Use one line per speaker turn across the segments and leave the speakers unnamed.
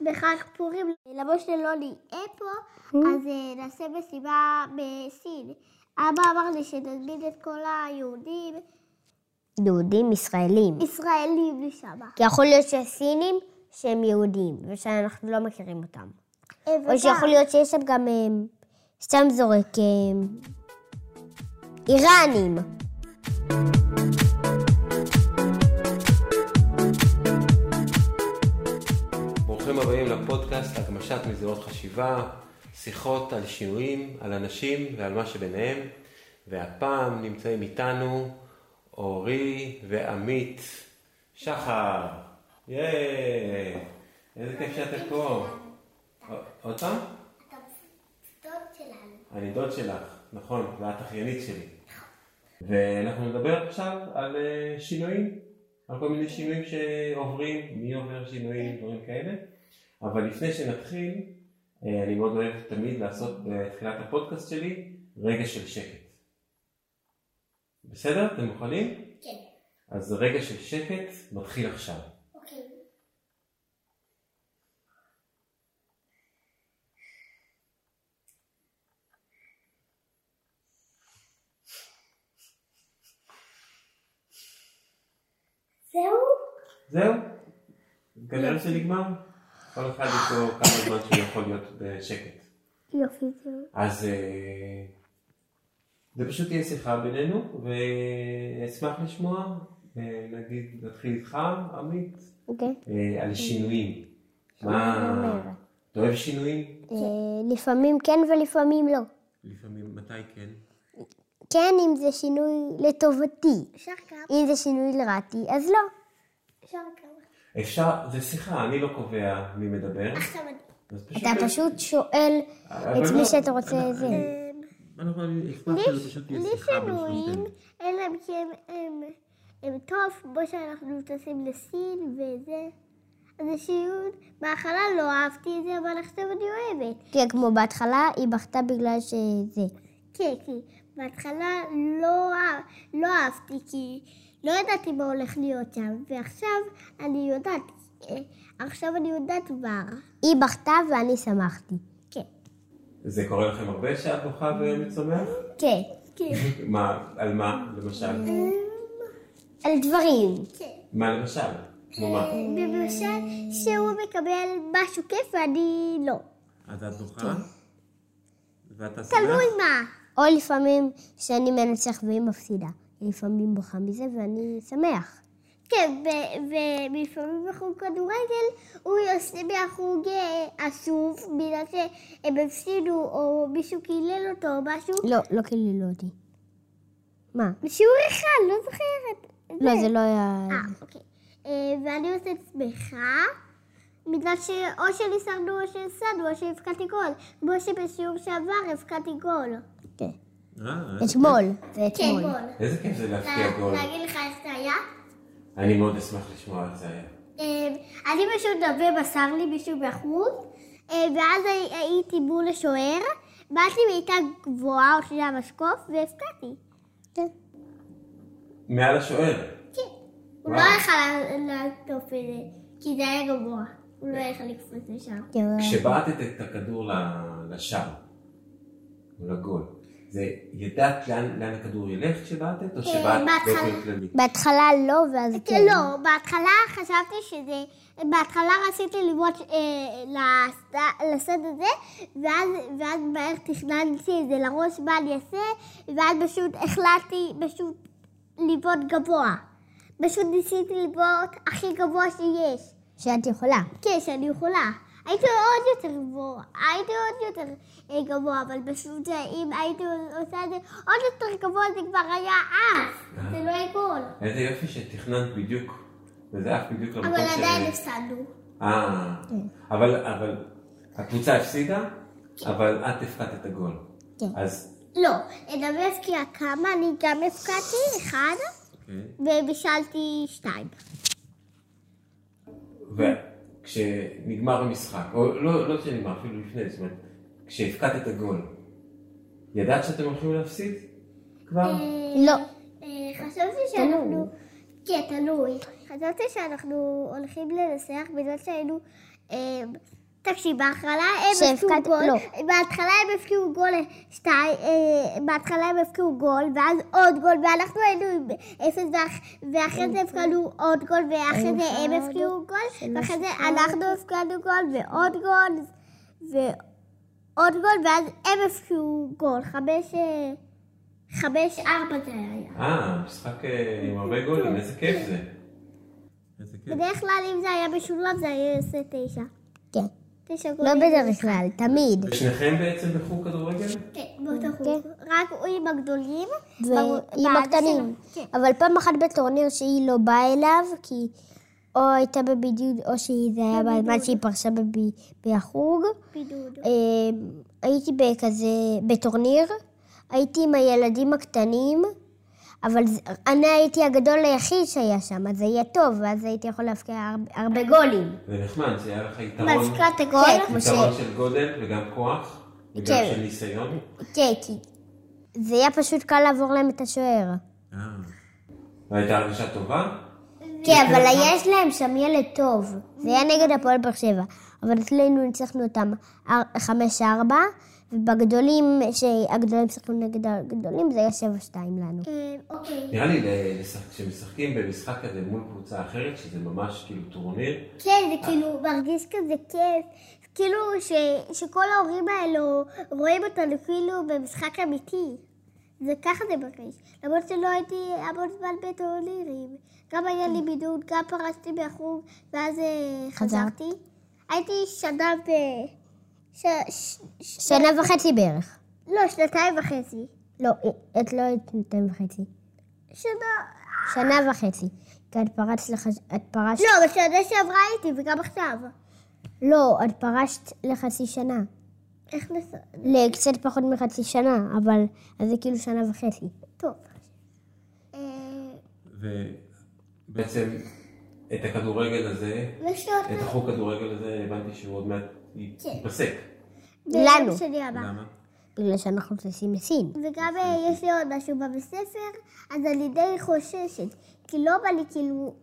בחג פורים, לבוא שלא נהיה פה,
Mm-hmm.
אז אה, נעשה מסיבה בסין. אבא אמר לי שנזמין את כל היהודים,
יהודים ישראלים.
ישראלים לשם.
כי יכול להיות שיש סינים שהם יהודים, ושאנחנו לא מכירים אותם. או שיכול להיות שיש שם גם, אמ, סתם זורק, אמ, איראנים.
ברוכים הבאים לפודקאסט הגמשת מזירות חשיבה, שיחות על שינויים, על אנשים ועל מה שביניהם, והפעם נמצאים איתנו אורי ועמית שחר. ייי! איזה כיף שאתם פה. עוד פעם? אני דוד שלך, נכון, ואת אחיינית שלי. ואנחנו נדבר עכשיו על אה, שינויים, על כל מיני שינויים שעוברים, מי עובר שינויים, דברים כאלה. אבל לפני שנתחיל, אה, אני מאוד אוהב תמיד לעשות בתחילת הפודקאסט שלי רגע של שקט. בסדר? אתם מוכנים?
כן.
אז רגע של שקט מתחיל עכשיו.
אוקיי. זהו?
זהו? כנראה שנגמר. כל אחד יש לו כמה זמן שהוא יכול להיות בשקט.
יופי, זהו.
אז אה, זה פשוט תהיה שיחה בינינו, ואשמח לשמוע, אה, נגיד, נתחיל איתך, עמית,
אוקיי?
אה, על שינויים.
אומר?
מה, אתה אוהב שינויים?
אה, לפעמים כן ולפעמים לא.
לפעמים, מתי כן?
כן, אם זה שינוי לטובתי.
אפשר כמה?
אם זה שינוי לרעתי, אז לא.
אפשר כמה?
אפשר, זה שיחה, אני לא קובע מי מדבר.
עכשיו אני.
אז לא-
אתה פשוט שואל את מי שאתה
אה,
רוצה זה.
אנחנו נשמח שזה פשוט תהיה
אה, בלי
שיחה בין
שינויים,
שלושתנו.
אלא אם כן הם, הם טוב, כמו שאנחנו טסים לסין וזה. אז השיעור בהתחלה לא אהבתי את זה, אבל עכשיו אני אוהבת.
כן, כמו בהתחלה, היא בכתה בגלל שזה.
כן, כי בהתחלה לא, אה- לא אהבתי, כי לא ידעתי מה הולך להיות שם, ועכשיו אני יודעת, אה, עכשיו אני יודעת כבר.
היא בכתה ואני שמחתי.
כן.
זה קורה לכם הרבה שאת בוכה ומצומח?
כן.
כן.
מה, על מה, למשל?
אה. על דברים.
כן.
מה למשל? כמו מה?
למשל, שהוא מקבל משהו כיף ואני לא.
אז את בוכה? ואתה
תלוי
שמח?
מה.
או לפעמים שאני מנצח והיא מפסידה. היא לפעמים בוכה מזה ואני שמח.
כן, ו- ולפעמים בחוג כדורגל הוא יוצא מהחוג אה, אסוף, בגלל שהם הפסידו או מישהו קילל אותו או משהו.
לא, לא קיללו אותי. מה?
בשיעור אחד, לא זוכרת.
לא, זה לא היה...
אה, אוקיי. אה, ואני יוצאת שמחה, בגלל שאו שניסרנו או שהפסדנו או שהבקעתי גול. כמו שבשיעור שעבר הבקעתי גול.
כן.
אה,
אתמול. זה כן, אתמול.
איזה כיף זה
אה,
להפקיע כן, גול.
לך איך זה היה?
אני מאוד אשמח לשמוע איך זה היה.
אה, אני פשוט נווה מסר לי מישהו בחוץ, אה, ואז הי- הייתי מול השוער, באתי בעיטה גבוהה או שזה המשקוף, והפקעתי.
כן,
מעל השוער.
כן. הוא
וואו.
לא יכל לעטוף את זה, כי זה היה גבוה. הוא לא יכל לקפוץ לשם.
כן.
כשבעטת את הכדור ל- לשער, או לגול, זה ידעת לאן לאן הכדור ילך כשבעטת, או שבעטת
אה, בהתחלה.
באופן כללי?
בהתחלה לא, ואז כן.
לא, בהתחלה חשבתי שזה... בהתחלה רציתי ללמוד אה, לעשות- לעשות את זה, ואז, ואז מהר תכננתי את זה לראש מה אני אעשה, ואז פשוט החלטתי פשוט לבעוט גבוה. פשוט ניסיתי לבעוט הכי גבוה שיש.
שאת יכולה.
כן, שאני יכולה. הייתי עוד יותר גבוה, הייתי עוד יותר אה, גבוה, אבל פשוט אה, אם הייתי עושה את זה עוד יותר גבוה זה כבר היה אז, זה לא היה גול.
איזה יופי שתכננת בדיוק, וזה אף בדיוק למקום
אבל
ש...
עדיין הפסדנו.
אה, אבל, אבל הקבוצה הפסידה,
כן.
אבל את הפקדת את הגול.
כן.
אז...
לא, נדבר כי כמה, אני גם הפקעתי אחד, ובישלתי שתיים.
וכשנגמר המשחק, או לא, לא כשנגמר, אפילו לפני, זאת אומרת, כשהפקדת את הגול, ידעת שאתם הולכים להפסיד? כבר?
אה.
לא.
חשבתי
תלוי.
שאנחנו... כן, תלוי. חשבתי שאנחנו הולכים לנסח בגלל שהיינו אמ, תקשיב, בהתחלה הם
שהפקד-
הפקיעו גול,
לא.
בהתחלה הם הפקיעו גול שתיים, אה, בהתחלה הם הפקיעו גול, ואז עוד גול, ואנחנו היינו עם אפס, ואח- ואחרי זה הפקענו עוד גול, ואחרי זה הם
אחד,
הפקיעו גול,
שלוש,
ואחרי זה
אחד.
אנחנו הפקענו גול, ועוד גול, ועוד גול, ואז הם הפקיעו גול, חמש, אה, חמש, ארבע זה היה.
אה, משחק אה, עם הרבה גולים, איזה כיף זה. איזה כיף.
בדרך כלל אם זה היה משולב זה היה עושה תשע.
כן.
תשע
לא
גולים.
בדרך כלל, תמיד.
ושניכם בעצם בחוג כדורגל?
כן, באותה חוג. רק הוא עם הגדולים. ב-
ועם
בעד
הקטנים.
שלו. כן.
אבל פעם אחת בטורניר שהיא לא באה אליו, כי או הייתה בבידוד או שזה היה בזמן שהיא פרשה בב- בחוג.
בידוד.
אמ, הייתי בכזה, בטורניר, הייתי עם הילדים הקטנים, אבל זה- אני הייתי הגדול היחיד שהיה שם, אז היה טוב, ואז הייתי יכול להפקיע הרבה- הרבה גולים.
זה נחמד, זה היה לך יתרון,
מזכרת
כן, כמו ש...
יתרון של גודל וגם כוח, וגם
כן.
של ניסיון.
כן, כי זה היה פשוט קל לעבור להם את השוער.
אה. והייתה הרגשה טובה?
כן, אבל יש להם שם ילד טוב. זה היה נגד הפועל באר שבע. אבל אצלנו ניצחנו אותם אר- 5-4, ובגדולים, שהגדולים שיחקו נגד הגדולים, זה היה 7-2 לנו.
אוקיי.
נראה לי ל- לשחק- כשמשחקים במשחק כזה מול קבוצה אחרת, שזה ממש כאילו טורניר,
כן, זה כאילו מרגיש כזה כיף. כאילו ש- שכל ההורים האלו רואים אותנו כאילו במשחק אמיתי. זה ככה זה מרגיש. למרות שלא הייתי המון זמן בטורנירים. גם היה לי בידוד, גם פרשתי מהחוג, ואז אה,
חזרת?
חזרתי. הייתי שנה ב... ש- ש- ש-
שנה וחצי בערך.
לא, שנתיים וחצי.
לא, את לא היית שנתיים וחצי.
שנה...
שנה וחצי. כי את פרצת לחצי... את פרשת...
לא, אבל שנה שעברה הייתי, וגם עכשיו.
לא, את פרשת לחצי שנה.
איך נס...
לקצת פחות מחצי שנה, אבל... אז זה כאילו שנה וחצי.
טוב. אה,
ובעצם את הכדורגל הזה,
יש לי עוד...
את החוג כדורגל הזה, הבנתי שהוא עוד מעט ייפסק.
לנו.
ביום שני הבא.
למה?
בגלל שאנחנו טסים לסין.
וגם אה, יש לי עוד משהו בבית ספר, אז אני די חוששת, כי לא בא לי כאילו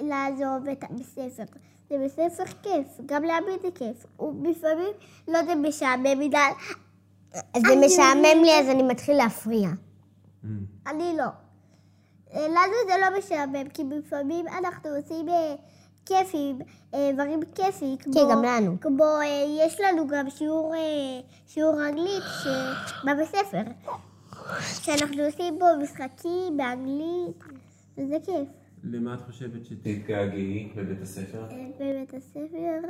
לעזוב את הבית ספר. זה בית ספר כיף, גם לעמית זה כיף. ולפעמים, לא זה משעמם מדי,
אז זה משעמם לי, אז אני מתחיל להפריע.
Mm.
אני לא. אה, לנו זה לא משעמם, כי לפעמים אנחנו עושים אה, כיפים, אה, דברים כיפים, כמו...
כן, גם לנו.
כמו, אה, יש לנו גם שיעור, אה, שיעור אנגלית ש- בבית ספר, שאנחנו עושים בו משחקים באנגלית, וזה כיף.
למה את חושבת שתתגעגעי בבית הספר?
אה, בבית הספר,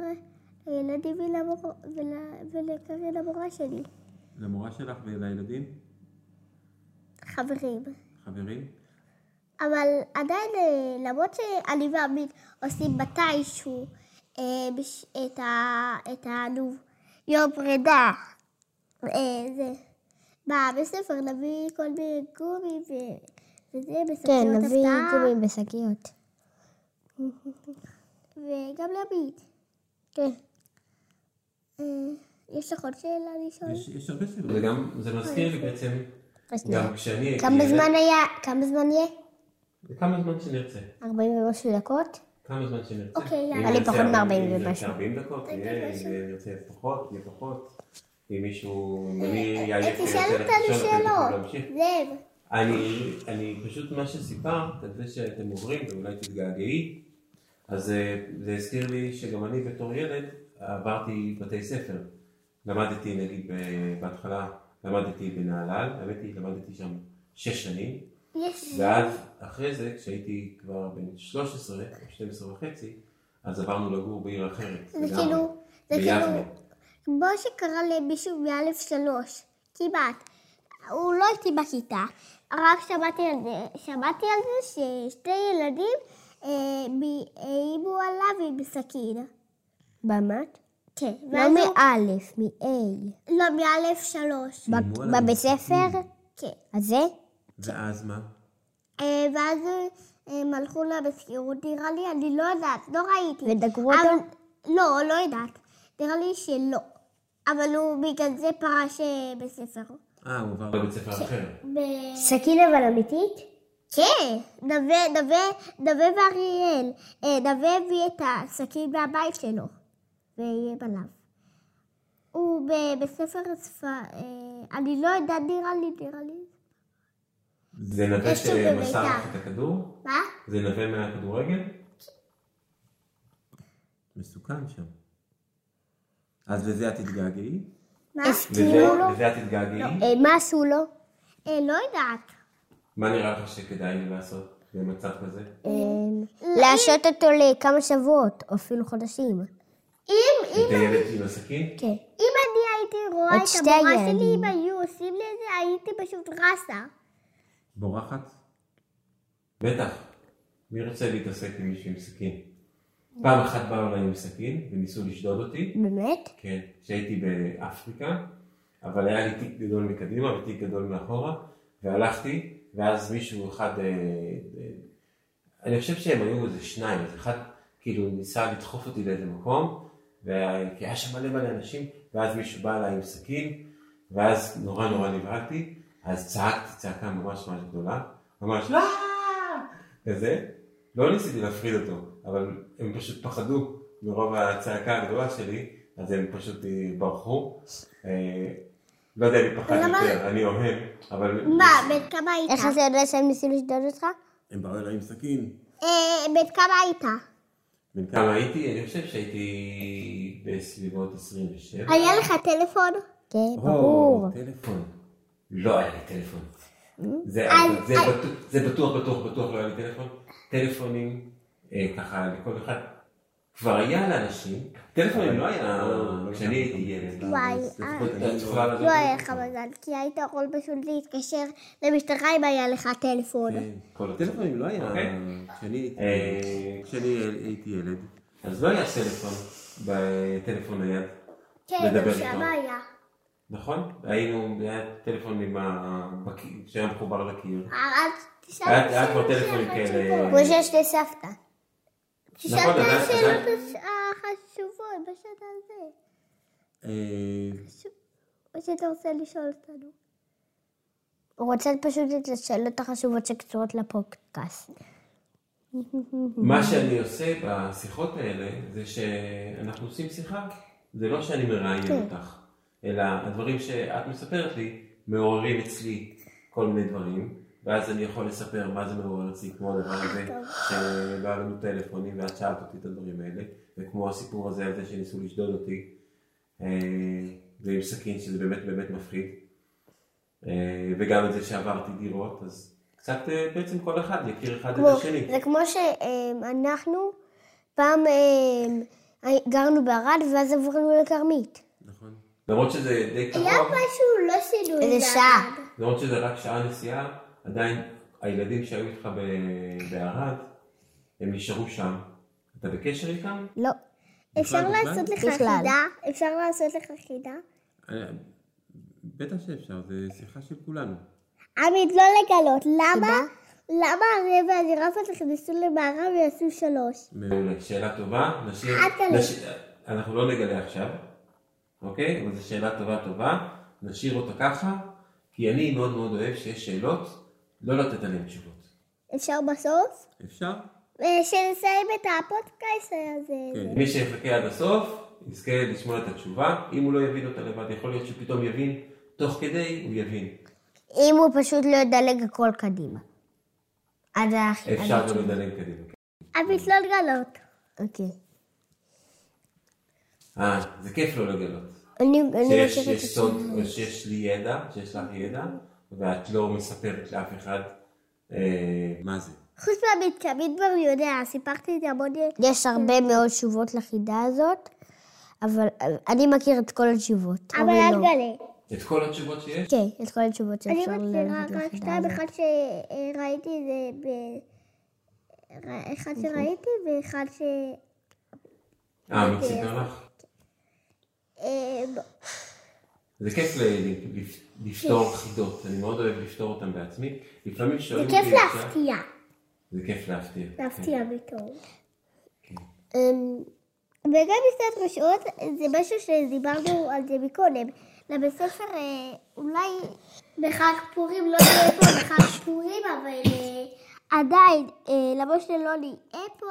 לילדים ולמור... ול... ולקרן המורה שלי,
למורה שלך ולילדים?
חברים.
חברים?
אבל עדיין, אה, למרות שאני ועמית עושים מתישהו אה, בש- את ה... את ה... נו, יום פרידה. אה, זה. בבית ספר נביא כל מיני גומי ו... וזה, בשקיות
כן, נביא
הפתעה,
גומים בשקיות.
וגם לעמית.
כן.
אה, יש לך עוד שאלה לשאול?
יש הרבה שאלות. וגם, זה מזכיר לי בעצם,
אז
גם
נראה.
כשאני הייתי...
כמה
ילד-
זמן היה? כמה זמן יהיה?
כמה זמן שנרצה.
40 ומשהו דקות?
כמה זמן שנרצה.
אוקיי,
אם
יאללה.
היה לי
נרצה
פחות מ-ארבעים
אם נרצה
ומשהו.
40 דקות, יהיה,
משהו.
אם נרצה פחות, יהיה פחות. אם מישהו, אם אני אהיה
אה, תשאל אותנו שאלות. זאב.
אני, אני פשוט, מה שסיפרת, על זה שאתם עוברים ואולי תתגעגעי, אז אה, זה הזכיר לי שגם אני בתור ילד עברתי בתי ספר. למדתי, נגיד, ב- בהתחלה למדתי בנהלל, האמת היא, למדתי שם שש שנים.
יש.
ואז אחרי זה, כשהייתי כבר בן 13, 12 וחצי, אז עברנו לגור בעיר אחרת.
זה כאילו, זה
ביבנה.
כאילו, כמו שקרה למישהו מאלף שלוש, כמעט. הוא לא הייתי בכיתה, רק שמעתי על זה, שמעתי על זה ששתי ילדים אה, מ- איימו עליו עם סכין.
באמת?
כן,
לא
ואז הוא,
מאלף, מ-A.
לא, מאלף שלוש,
ב- בבית ספר?
כן.
אז זה?
ואז מה?
אה, ואז אה, הם הלכו למזכירות, נראה לי, אני לא יודעת, לא ראיתי.
ודקרו
אבל-
אותו?
לא, לא יודעת. נראה לי שלא. אבל הוא בגלל זה פרש אה, בספר.
אה, הוא עבר לבית ספר אחר.
ב-
סכין אבל אמיתית?
כן, נווה, נווה, נווה ואריאל. אה, נווה הביא את הסכין מהבית שלו. ויהיה בלב. הוא ב- בספר הספר... אני לא יודעת, נראה לי, נראה לי.
זה נווה
יש לי בביתר.
שמסר לך את הכדור?
מה?
זה נווה מהכדורגל? מסוכן שם. אז לזה את תתגעגעי?
מה? כאילו,
לזה לזה את תתגעגעי?
אה, מה עשו לו?
אה, לא יודעת.
מה נראה לך שכדאי לי לעשות במצב כזה?
אמ, אה, להשעות אותו לכמה שבועות, או אפילו חודשים.
אם, אם,
את הילד עם הסכין?
כן.
אם אני הייתי רואה
את
את
שתי
המורה
הילדים.
שלי, אם היו עושים לי את זה, הייתי פשוט רסה.
בורחת? בטח. מי רוצה להתעסק עם מישהו עם סכין? פעם אחת באו אליי עם סכין וניסו לשדוד אותי.
באמת?
כן, כשהייתי באפריקה, אבל היה לי תיק גדול מקדימה ותיק גדול מאחורה, והלכתי, ואז מישהו אחד, אה, אה, אני חושב שהם היו איזה שניים, אז אחד כאילו ניסה לדחוף אותי לאיזה מקום, וה- כי היה שם מלא מלא אנשים, ואז מישהו בא אליי עם סכין, ואז נורא נורא נבהלתי, אז צעקתי צעקה ממש ממש גדולה, ממש לא! כזה, לא ניסיתי להפריד אותו, אבל הם פשוט פחדו מרוב הצעקה הגדולה שלי, אז הם פשוט אה, ברחו. אה, לא יודע אם פחד
למה?
יותר, אני אוהב, אבל...
מה, בן כמה היית?
איך אתה יודע שהם ניסו לשדוד אותך?
הם באו אליי עם סכין.
אה, בן כמה היית?
בן כמה הייתי? אני חושב שהייתי בסביבות 27.
היה לך טלפון?
כן, ברור.
או, טלפון. לא היה לי טלפון. זה,
אז-
זה,
אז-
בטוח- זה בטוח, בטוח, בטוח לא היה לי טלפון. טלפונים, אה, ככה, לכל אחד. כבר היה לאנשים, טלפונים לא היה, כשאני הייתי ילד.
וואי,
לפחות את יכולה לדעת.
לא היה לך מזל, כי היית יכול פשוט להתקשר למשטרה אם היה לך טלפון.
כל הטלפון.
טלפונים לא היה,
אוקיי.
כשאני הייתי-
אה,
כשאני הייתי ילד.
אז לא היה טלפון בטלפון נייד,
כן,
לדבר
זה
איתו.
שם היה.
נכון? היינו, היה טלפון עם ה... בקיר, שהיה מחובר לקיר.
אה, אז תשאל
היה היה כבר
שאלות
טלפונים כאלה.
כמו שיש לסבתא.
נכון,
לא
תשאל
נכון,
את
אבל-
השאלות הש-
אה,
החשובות בשעת הזה.
אה,
או שאתה רוצה לשאול אותנו.
הוא רוצה פשוט את השאלות החשובות שקשורות לפודקאסט.
מה שאני עושה בשיחות האלה, זה שאנחנו עושים שיחה. זה לא שאני מראיין אותך, אלא הדברים שאת מספרת לי מעוררים אצלי כל מיני דברים, ואז אני יכול לספר מה זה מעורר אצלי, כמו הדבר הזה, שלא היה לנו טלפונים ואת שאלת אותי את הדברים האלה, וכמו הסיפור הזה על זה שניסו לשדוד אותי, אה, ועם סכין, שזה באמת באמת מפחיד. אה, וגם את זה שעברתי דירות, אז קצת אה, בעצם כל אחד יכיר אחד את
כמו-
השני.
זה כמו שאנחנו פעם אמ, גרנו בערד ואז עברנו לכרמית.
נכון. למרות שזה די קרוב,
היה משהו, לא שינו את
איזה שעה.
אבל.
למרות שזה רק שעה נסיעה, עדיין הילדים שהיו איתך ב- בערד, הם נשארו שם. אתה בקשר איתם?
לא.
אפשר
בכלל?
לעשות לך
בכלל.
חידה? אפשר לעשות לך חידה?
אה, בטח שאפשר, זו שיחה של כולנו.
עמית, לא לגלות. למה? למה הרב והג'ירפות נכנסו למערה ועשו שלוש?
מעולה. שאלה טובה, נשים...
אל תעלי.
נש- אנחנו לא נגלה עכשיו, אוקיי? אבל זו שאלה טובה טובה, נשאיר אותה ככה, כי אני מאוד מאוד אוהב שיש שאלות, לא לתת עליהן תשובות.
אפשר בסוף? אוקיי,
אפשר?
אה, שנסיים את הפודקאסט הזה.
כן.
מי שיחכה עד הסוף, יזכה לשמוע את התשובה, אם הוא לא יבין אותה לבד, יכול להיות שהוא פתאום יבין, תוך כדי הוא יבין.
כן,
אם הוא פשוט לא ידלג הכל קדימה. עד האחי.
אפשר גם לדלג קדימה.
עמית, לא לגלות.
אוקיי.
אה, זה כיף לא לגלות.
אני אני
שיש
חושבת
יש סוד, או שיש לי ידע, שיש לך ידע, ואת לא מספרת לאף אחד אה,
מה זה?
חוץ מעמית, כי עמית כבר יודע, סיפרתי את זה המון...
שיש הרבה מאוד תשובות לחידה הזאת, אבל אבל אני מכיר את כל התשובות.
אבל
אורי
אל
לא.
תגלה.
את כל התשובות שיש.
כן, את כל התשובות
אני
שאפשר
מכירה
ללכת
רק
לחידה
שתיים,
הזאת.
אחד שראיתי זה ב... ר- אחד שראיתי ואחד ש...
אה,
אוקיי.
מי סיפר לך?
אה,
זה כיף ל- ל- לפ- לפתור חידות, אני מאוד אוהב לפתור אותן בעצמי. לפעמים
זה
שואלים
כיף
אותי עכשיו-
להפתיע.
זה כיף להפתיע.
להפתיע בתור.
אמ,
וגם מסתת רשעות זה משהו שדיברנו על זה מקודם. לבית ספר אה, אולי בחג פורים לא נהיה פה בחג פורים, אבל אה, עדיין, לא אה, למרות שלא נהיה פה,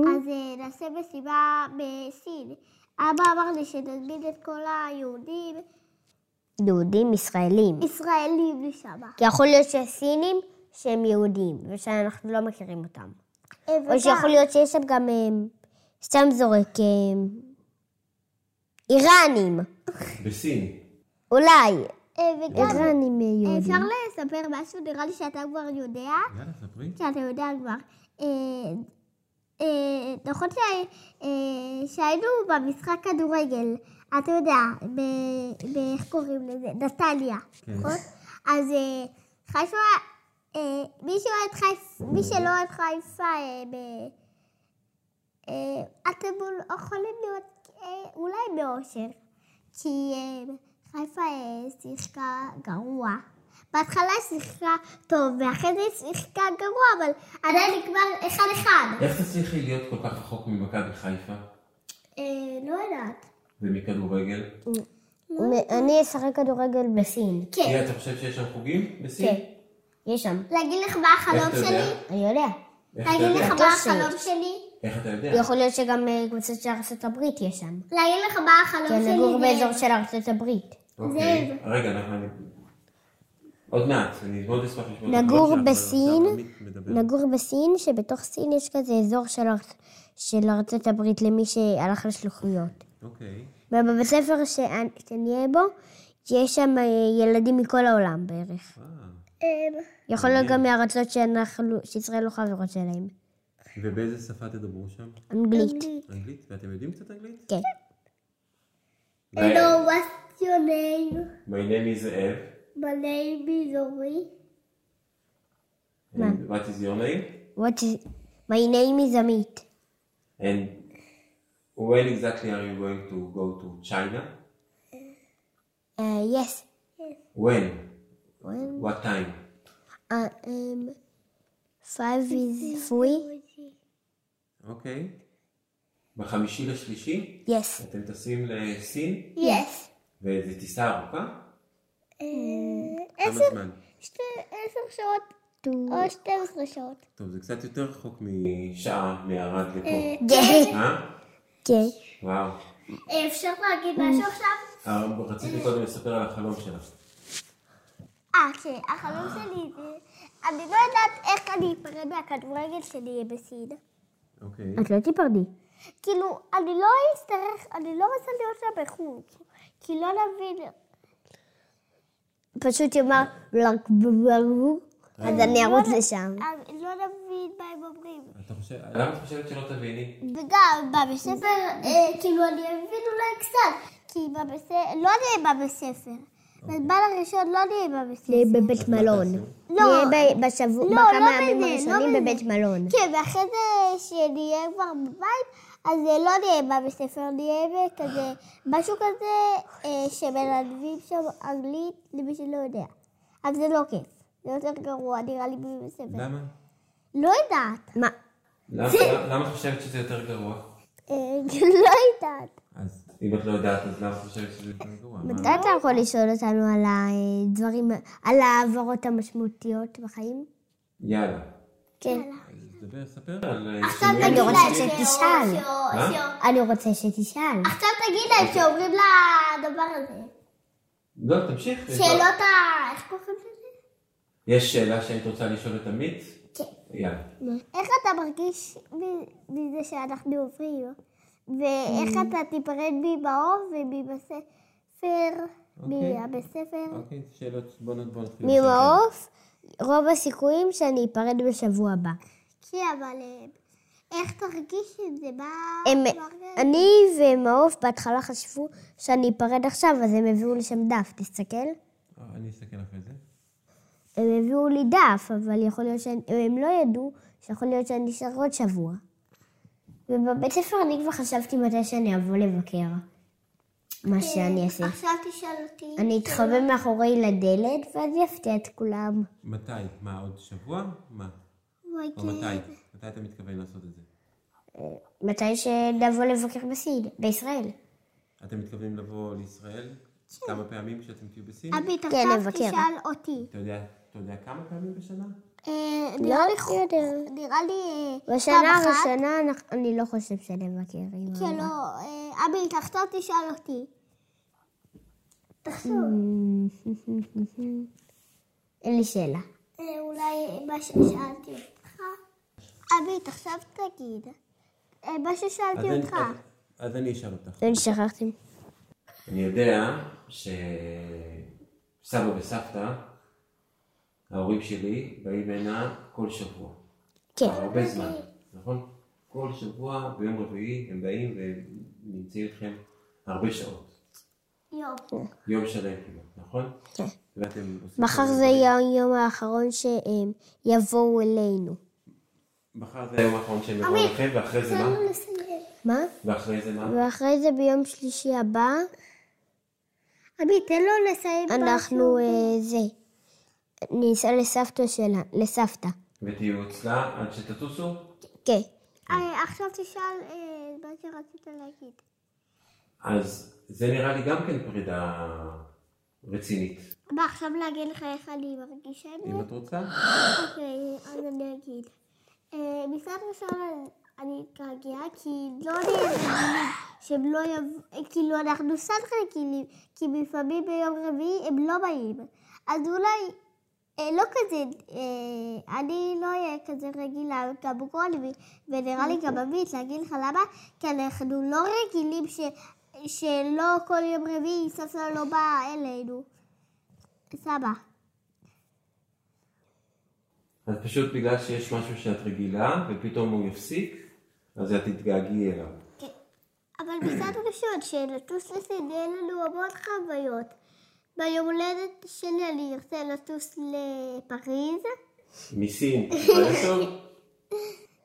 אז אה, נעשה מסיבה בסין. אבא אמר לי שנזמין את כל היהודים,
יהודים ישראלים.
ישראלים לשם.
כי יכול להיות שהסינים שהם יהודים, ושאנחנו לא מכירים אותם. או שיכול להיות שיש שם גם, אמ, סתם זורק, אמ, איראנים.
כן. בסין.
אולי.
אה, וגם
איראנים אה, יהודים.
אפשר לספר משהו, נראה לי שאתה כבר יודע,
יאללה, ספרי.
שאתה יודע כבר. אה, אה, נכון שה- אה, שהיינו במשחק כדורגל, אתה יודע, ב- ב- איך קוראים לזה? נתניה, נכון? אז אה, חיפה, אה, מי שאוהד חיפה, מי שלא אוהד חיפה, אה, ב- אה, אתם אול- יכולים להיות אה, אולי באושר, כי אה, חיפה אה, שיחקה גרוע. בהתחלה היא שיחקה טוב, ואחרי זה היא שיחקה גרוע, אבל עדיין נגמר אחד-אחד.
איך תצליחי להיות כל כך רחוק ממכבי חיפה
אה, לא יודעת.
ומכדורגל?
כן. מ- אני אשחק כדורגל בסין.
כן.
תראה, אתה חושב שיש שם חוגים בסין?
כן. יש שם.
להגיד לך מה
איך
החלום
אתה יודע?
שלי?
אני יודע.
איך אתה
להגיד
יודע?
לך מה
טוב
החלום שלי?
איך אתה יודע?
יכול להיות שגם אה, קבוצה של ארצות הברית יש שם.
להגיד לך מה החלום
כי
שלי?
נגור
זה-
כן, באזור של ארצות הברית.
אוקיי. רגע, אנחנו... אני- עוד מעט, אני מאוד אשמח לשמוע. את הקול
נגור
שלך.
בסין,
מדבר.
נגור בסין, שבתוך סין יש כזה אזור של, ארצ- של ארצות הברית למי שהלך לשלוחויות.
אוקיי.
ובבית ספר שאני- שאני אהיה בו, יש שם אה, ילדים מכל העולם בערך.
אה.
אה,
יכול להיות גם מארצות שאנחנו- שישראל לא חברות שלהם.
ובאיזה שפה תדברו שם?
אנגלית.
אנגלית? ואתם יודעים קצת אנגלית?
כן. אה, לא.
Hello, what's your name?
My name is אב.
My name is Ori.
And what is your name?
What is... My name is עמית.
And when exactly are you going to go to China?
אה, Yes.
When?
When?
What time?
Uh, um, five is three.
אוקיי.
בחמישי לשלישי?
Yes.
אתם טסים לסין?
Yes.
וזו טיסה ארוכה?
כמה זמן?
עשר שעות או 12 שעות.
טוב, זה קצת יותר רחוק מ...
שעה מערד לפה.
כן.
אה?
כן.
וואו.
אה, אפשר להגיד משהו עכשיו?
אה, רציתי קודם לספר על החלום שלך.
אה, כן, החלום שלי זה... אני לא יודעת איך אני אפרד מהכדורגל שלי בסין.
אוקיי.
את לא תיפרדי.
כאילו, אני לא אצטרך, אני לא רוצה להיות שם בחו"ל. כי לא נבין...
פשוט יאמר בלנק בברור, אז אני ארוץ לשם.
אני לא נבין מה הם אומרים.
אתה חושב...
למה את חושבת שלא תביני?
וגם בבית ספר, אה, כאילו, אני מבין אולי קצת. כי בבית ספר, לא נהיה בבית ספר. בזמן הראשון לא נהיה בבית ספר.
נהיה בבית מלון.
לא.
נהיה ב- בשבוע,
לא,
בכמה
לא
הימים
בזה, לא
הראשונים
בזה.
בבית מלון.
כן, ואחרי זה שנהיה כבר בבית, אז אה, לא נהיה בבית ספר, נהיה בכזה, משהו כזה אה, שמלמדים שם אנגלית למי שלא יודע. אבל זה לא כיף, זה יותר גרוע נראה לי בבית ספר.
למה?
לא
e
יודעת.
מה?
למה למה את חושבת שזה יותר גרוע?
אה, לא יודעת.
אז...
אם את לא יודעת, אז למה את חושבת שזה יותר גרוע?
גרוע, מה?
מתי אתה יכול לשאול אותנו על הדברים, על ההעברות המשמעותיות בחיים?
יאללה.
כן.
אז דבר, ספר על... אה,
עכשיו
שינויים
תגיד
אני רוצה
להם
משמעותיים.
ש-
שתשאל.
ש-
מה?
ש-
אני רוצה שתשאל.
עכשיו תגיד להם
אוקיי.
שאומרים לדבר הזה.
לא, תמשיך.
אה,
שאלות ה... איך קוראים לזה?
יש שאלה שהיית רוצה לשאול את עמית?
כן.
יאללה.
איך אתה מרגיש מ- מזה שאנחנו עוברים? ואיך
אה.
אתה תיפרד ממעוף ומבית ספר,
אוקיי.
מהבית ספר?
אוקיי, שאלות. בוא נ- בוא נתחיל.
ממעוף, רוב הסיכויים שאני אפרד בשבוע הבא.
כן, אבל אה, איך תרגיש את זה? מה...
הם,
מה-
אני ומעוף בהתחלה חשבו שאני אפרד עכשיו, אז הם הביאו לי שם דף, תסתכל.
אה, אני אסתכל אחרי זה.
הם הביאו לי דף, אבל יכול להיות שהם הם לא ידעו שיכול להיות שאני אשאר עוד שבוע. ובבית ספר אני כבר חשבתי מתי שאני אבוא לבקר. מה שאני אעשה.
עכשיו תשאל אותי.
אני אתחבא מאחורי לדלת, ואז יפתיע את כולם.
מתי? מה, עוד שבוע? מה?
אוי, כן.
או מתי? מתי אתה מתכוון לעשות את זה?
מתי שנבוא לבקר בסין, בישראל.
אתם מתכוונים לבוא לישראל? כמה פעמים כשאתם תהיו בסין?
עמית,
כן,
עכשיו
לבקר.
תשאל אותי.
אתה יודע, אתה יודע כמה פעמים בשנה?
אה,
לא
נראה לי חו-
יודע.
נראה לי אה, פעם
בשנה
אחת,
הראשונה אנחנו- אני לא חושב שאני מכיר. אם
שלא, אה, אבי, תחשוב, תשאל אותי. תחשוב.
אין לי שאלה.
אה, אולי מה ששאלתי אותך. אבי, תחשוב תגיד. אה, מה
אז
ששאלתי
אני-
אותך.
אז- אז אני אשאל אותך.
אני שכחתי.
אני יודע שסבא וסבתא, ההורים שלי, באים הנה כל שבוע.
כן.
הרבה זמן, נכון? כל שבוע ביום רביעי הם באים ונמצאים איתכם הרבה שעות.
יום.
יום שלם כמעט, נכון?
כן.
ואתם עושים...
מחר
כל מיני
זה
דברים.
יהיה היום האחרון שהם יבואו אלינו.
מחר זה היום האחרון שהם יבואו לכם, ואחרי זה מה?
מה?
ואחרי זה מה?
ואחרי זה ביום שלישי הבא,
אבי, תן לו לסיים
אנחנו אה, זה. ניסע לסבתא שלה, לסבתא.
ותהיו אצלה עד שתטוסו?
כן.
אה, עכשיו תשאל אה, מה שרצית להגיד.
אז זה נראה לי גם כן פרידה רצינית.
מה, עכשיו להגיד לך איך אני מרגישה עם
אם
זה?
את רוצה?
אוקיי, אז אני אגיד. אה, מצד ראשון אני אתגעגע, כי לא נהיה רגילים שהם לא יבואו, כאילו אנחנו סתם רגילים, כי לפעמים ביום רביעי הם לא באים. אז אולי אה, לא כזה, אה, אני לא אהיה כזה רגילה, גם רוני, ונראה לי גם עמית, להגיד לך למה? כי אנחנו לא רגילים ש, שלא כל יום רביעי סבתא לא באה אלינו. סבא.
אז פשוט בגלל שיש משהו שאת רגילה, ופתאום הוא יפסיק, אז את תתגעגעי אליו.
כן. אבל מצד ראשון, שלטוס לסין, יהיה לנו המון חוויות. ביום הולדת שלי אני ארצה לטוס לפריז.
מסין, אבל טוב,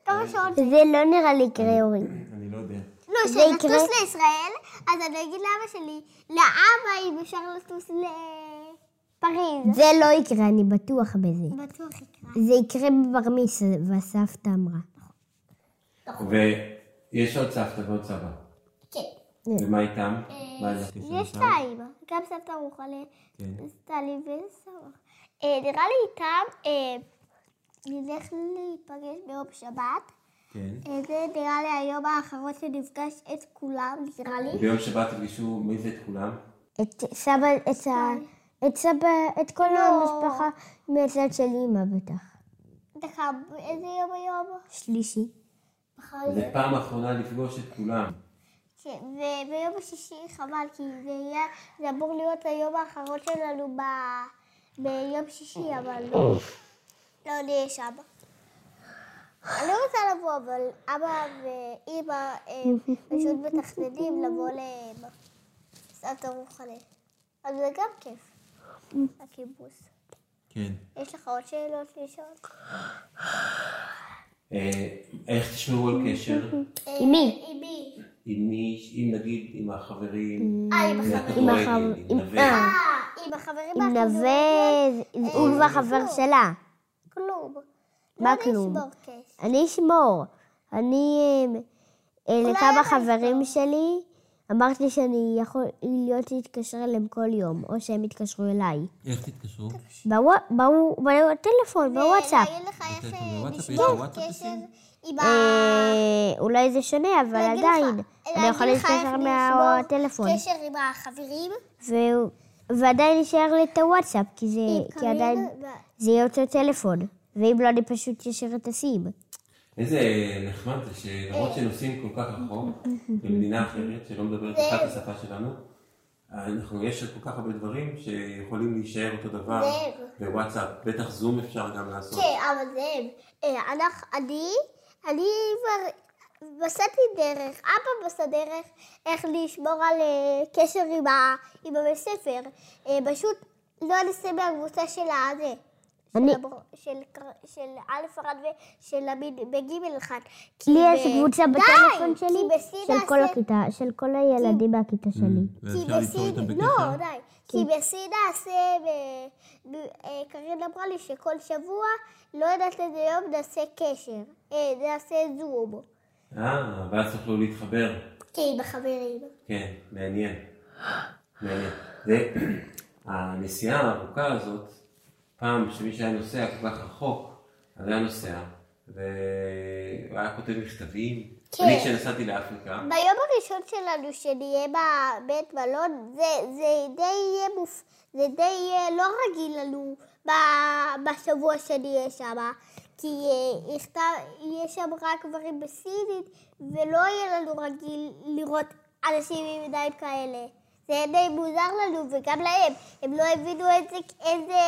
כמה שעות?
זה לא נראה לי יקרה, אורי.
אני לא יודע.
לא,
זה יקרה.
שלטוס לישראל, אז אני אגיד לאבא שלי, לאבא אם אפשר לטוס לפריז.
זה לא יקרה, אני בטוח בזה.
בטוח יקרה.
זה יקרה בבר מצווה, סבתא אמרה.
נכון.
ויש עוד סבתא ועוד סבא.
כן.
ומה איתם?
אה,
מה עם הטיסה
יש
איתם?
שתיים, גם סבתא רוחלה,
כן.
טלי וסבא. אה, נראה לי איתם, אה, נלך להיפגש ביום שבת.
כן.
אה, זה נראה לי היום האחרון שנפגש את כולם, נראה לי.
ביום שבת תפגשו מי זה את כולם?
את סבא, את ה... את סבא, את כל המשפחה מהצד של אימא בטח.
דקה, איזה יום היום?
שלישי.
מחר
אוקיי.
זה
יום.
פעם אחרונה לפגוש את כולם.
כן, וביום השישי חבל, כי זה יהיה, זה אמור להיות היום האחרון שלנו ב... ביום שישי, אבל לא. לא נהיה שם. אני לא רוצה לבוא, אבל אבא ואימא הם פשוט מתכננים לבוא לסבתא רוחני. אז זה גם כיף, הקיבוץ.
כן.
יש לך עוד שאלות לשאול?
אה, איך תשמרו על קשר?
עם מי?
עם מי?
עם מי, אם נגיד עם החברים,
אה, עם
עם
החברים.
הכדורגל,
החב-
עם
עם-
נווה.
אה.
אה, עם החברים.
עם
אנחנו אה,
נווה, הוא כבר חבר שלה.
לא- כלום.
מה
לא
כלום?
נשבור קשר.
אני אשמור. אני, אה, אה, לכמה חברים שלי, אמרתי שאני יכול להיות להתקשר אליהם כל יום, או שהם יתקשרו אליי.
איך תתקשרו?
בוו- בוו- בטלפון, בוואטסאפ.
להגיד לך איך
בטלפון,
אה,
אוקיי, בוואטסאפ, יש
לשבור
בוואטסאפ
קשר
בסין?
עם ה...
אה, אולי זה שונה, אבל
להגיד לך-
עדיין. אני לא
להגיד
יכול
לך איך
להתקשר
לשבור
מהטלפון.
קשר עם החברים.
ו- ועדיין יישאר לי את הוואטסאפ, כי זה- כי
קארין
עדיין
ו-
זה יהיה אותו טלפון. ואם לא, אני פשוט אשאיר את הסים.
איזה נחמד זה שלמרות שנוסעים כל כך רחוק, במדינה אחרת שלא מדברת
זה-
אחת השפה שלנו, אנחנו, יש כל כך הרבה דברים שיכולים להישאר אותו דבר
זאב.
בוואטסאפ, בטח זום אפשר גם לעשות.
כן, אבל זה הם. אה, אנחנו- אני, אני כבר בסדתי דרך, אבא בסד דרך, איך לשמור על אה, קשר עם ה- עם הבית ספר. אה, פשוט לא נעשה מהקבוצה של הזה.
אני-
של הבר- של קר- של א' אחד ושל המין בג' אחד. כי
לי יש
ב-
קבוצה
די,
בטלפון
כי
שלי,
בסין
של כל
נעשה-
הכיתה, של כל הילדים מהכיתה
Mm.
שלי.
כי
ואפשר ליצור
בסין,
איתם
לא,
בקשר?
די. כי בסין נעשה, ב- ב- אה, קארין אמרה לי שכל שבוע, לא יודעת איזה יום, נעשה קשר. אה, נעשה זום. לא.
אה, ואז תוכלו להתחבר.
כן, עם החברים.
כן, מעניין. מעניין. זה, הנסיעה הארוכה הזאת, פעם שמי שהיה נוסע כל כך רחוק, אז היה נוסע, והוא היה כותב מכתבים.
כן.
אני כשנסעתי לאפריקה,
ביום הראשון שלנו שנהיה בבית מלון, זה, זה די יהיה מופ... זה די יהיה לא רגיל לנו ב... בשבוע שנהיה שם, כי אה, יכתב... יהיה שם רק דברים בסינית, ולא יהיה לנו רגיל לראות אנשים עם ידיים כאלה. זה היה די מוזר לנו, וגם להם, הם לא הבינו איזה, איזה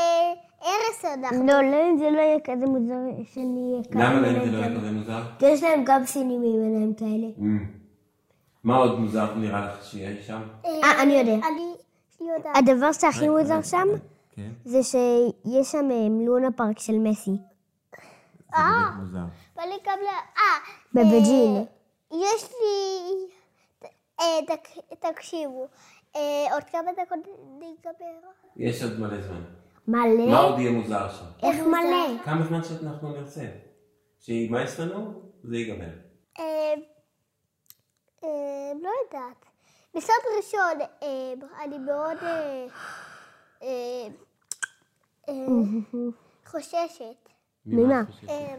ערס אנחנו.
לא, להם זה לא יהיה כזה מוזר שנהיה
למה
עם
להם זה
עיניים
לא היה
כאלה.
כזה מוזר?
כי יש להם גם סינים עם עיניים כאלה.
אמ. מה עוד מוזר נראה לך שיהיה שם?
אה, אני יודע.
אני, אני יודעת.
הדבר
אה,
שהכי מוזר שם,
כן,
זה שיש שם אה, לונה פארק של מסי.
זה
אה!
באמת מוזר.
ואני גם ל... אה,
בבייג'ין.
אה, יש לי... אה, תק- תקשיבו, אה, עוד כמה דקות ניגמר.
יש עוד מלא זמן. מה
מלא?
עוד יהיה מוזר שם?
איך מלא?
כמה זמן שאנחנו נרצה. שימאס לנו, זה ייגמר.
אה, אה, לא יודעת. בסוד ראשון, אה, אני מאוד אה, אה, אה, חוששת.
ממה?
אה,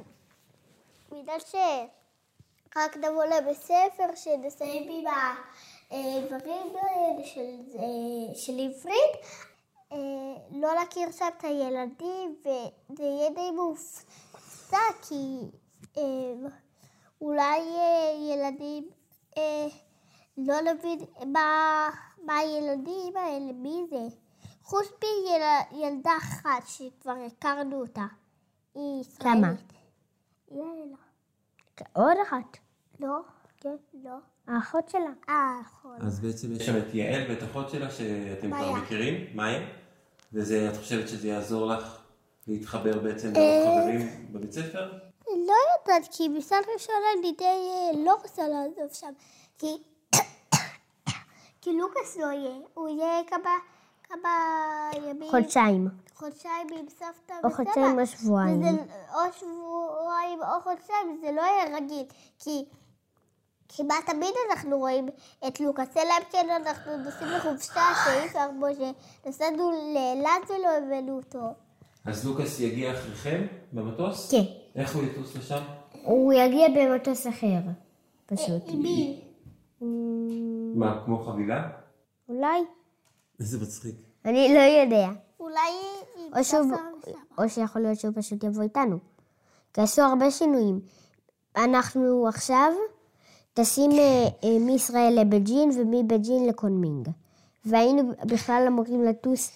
בגלל שרק נבוא לבית ספר, שנסיים עם האיברים האלה של, אה, של עברית, אה, לא להכיר שם את הילדים, וזה יהיה די מופתע, כי אה, אולי אה, ילדים, אה, לא נבין מה, מה הילדים האלה, מי זה. חוץ מילדה אחת שכבר הכרנו אותה. היא ישראלית.
כמה?
יאללה.
עוד אחת.
לא? כן. לא.
האחות שלה.
אה, נכון.
אז בעצם יש
יש שם את יעל ואת אחות שלה שאתם כבר
מאיה.
מכירים, מאיה, וזה, את חושבת שזה יעזור לך להתחבר בעצם
אה?
לחברים בבית ספר?
לא יודעת, כי מצד ראשון אני די אה, לא רוצה לעזוב שם. כי... כי לוקאס לא יהיה. הוא יהיה כמה... כמה ימים...
חודשיים.
חודשיים עם סבתא
או חודשיים או שבועיים.
וזה, לא- או שבועיים או חודשיים, זה לא יהיה רגיל, כי כמעט תמיד אנחנו רואים את לוקאס, אלא אם כן אנחנו נוסעים לחופשה שאי אפשר בו, שנסענו לאילת ולא הבאנו אותו.
אז לוקאס יגיע אחריכם במטוס?
כן.
איך הוא יטוס לשם?
הוא יגיע במטוס אחר, פשוט.
עם מי?
מה, כמו חבילה?
אולי?
איזה מצחיק.
אני לא יודע.
אולי עם
או, שהוא,
סבתא.
או שיכול להיות שהוא פשוט יבוא איתנו. כי עשו הרבה שינויים. אנחנו עכשיו טסים אה, אה, מישראל לבייג'ין ומבייג'ין לקונמינג. והיינו בכלל אמורים לטוס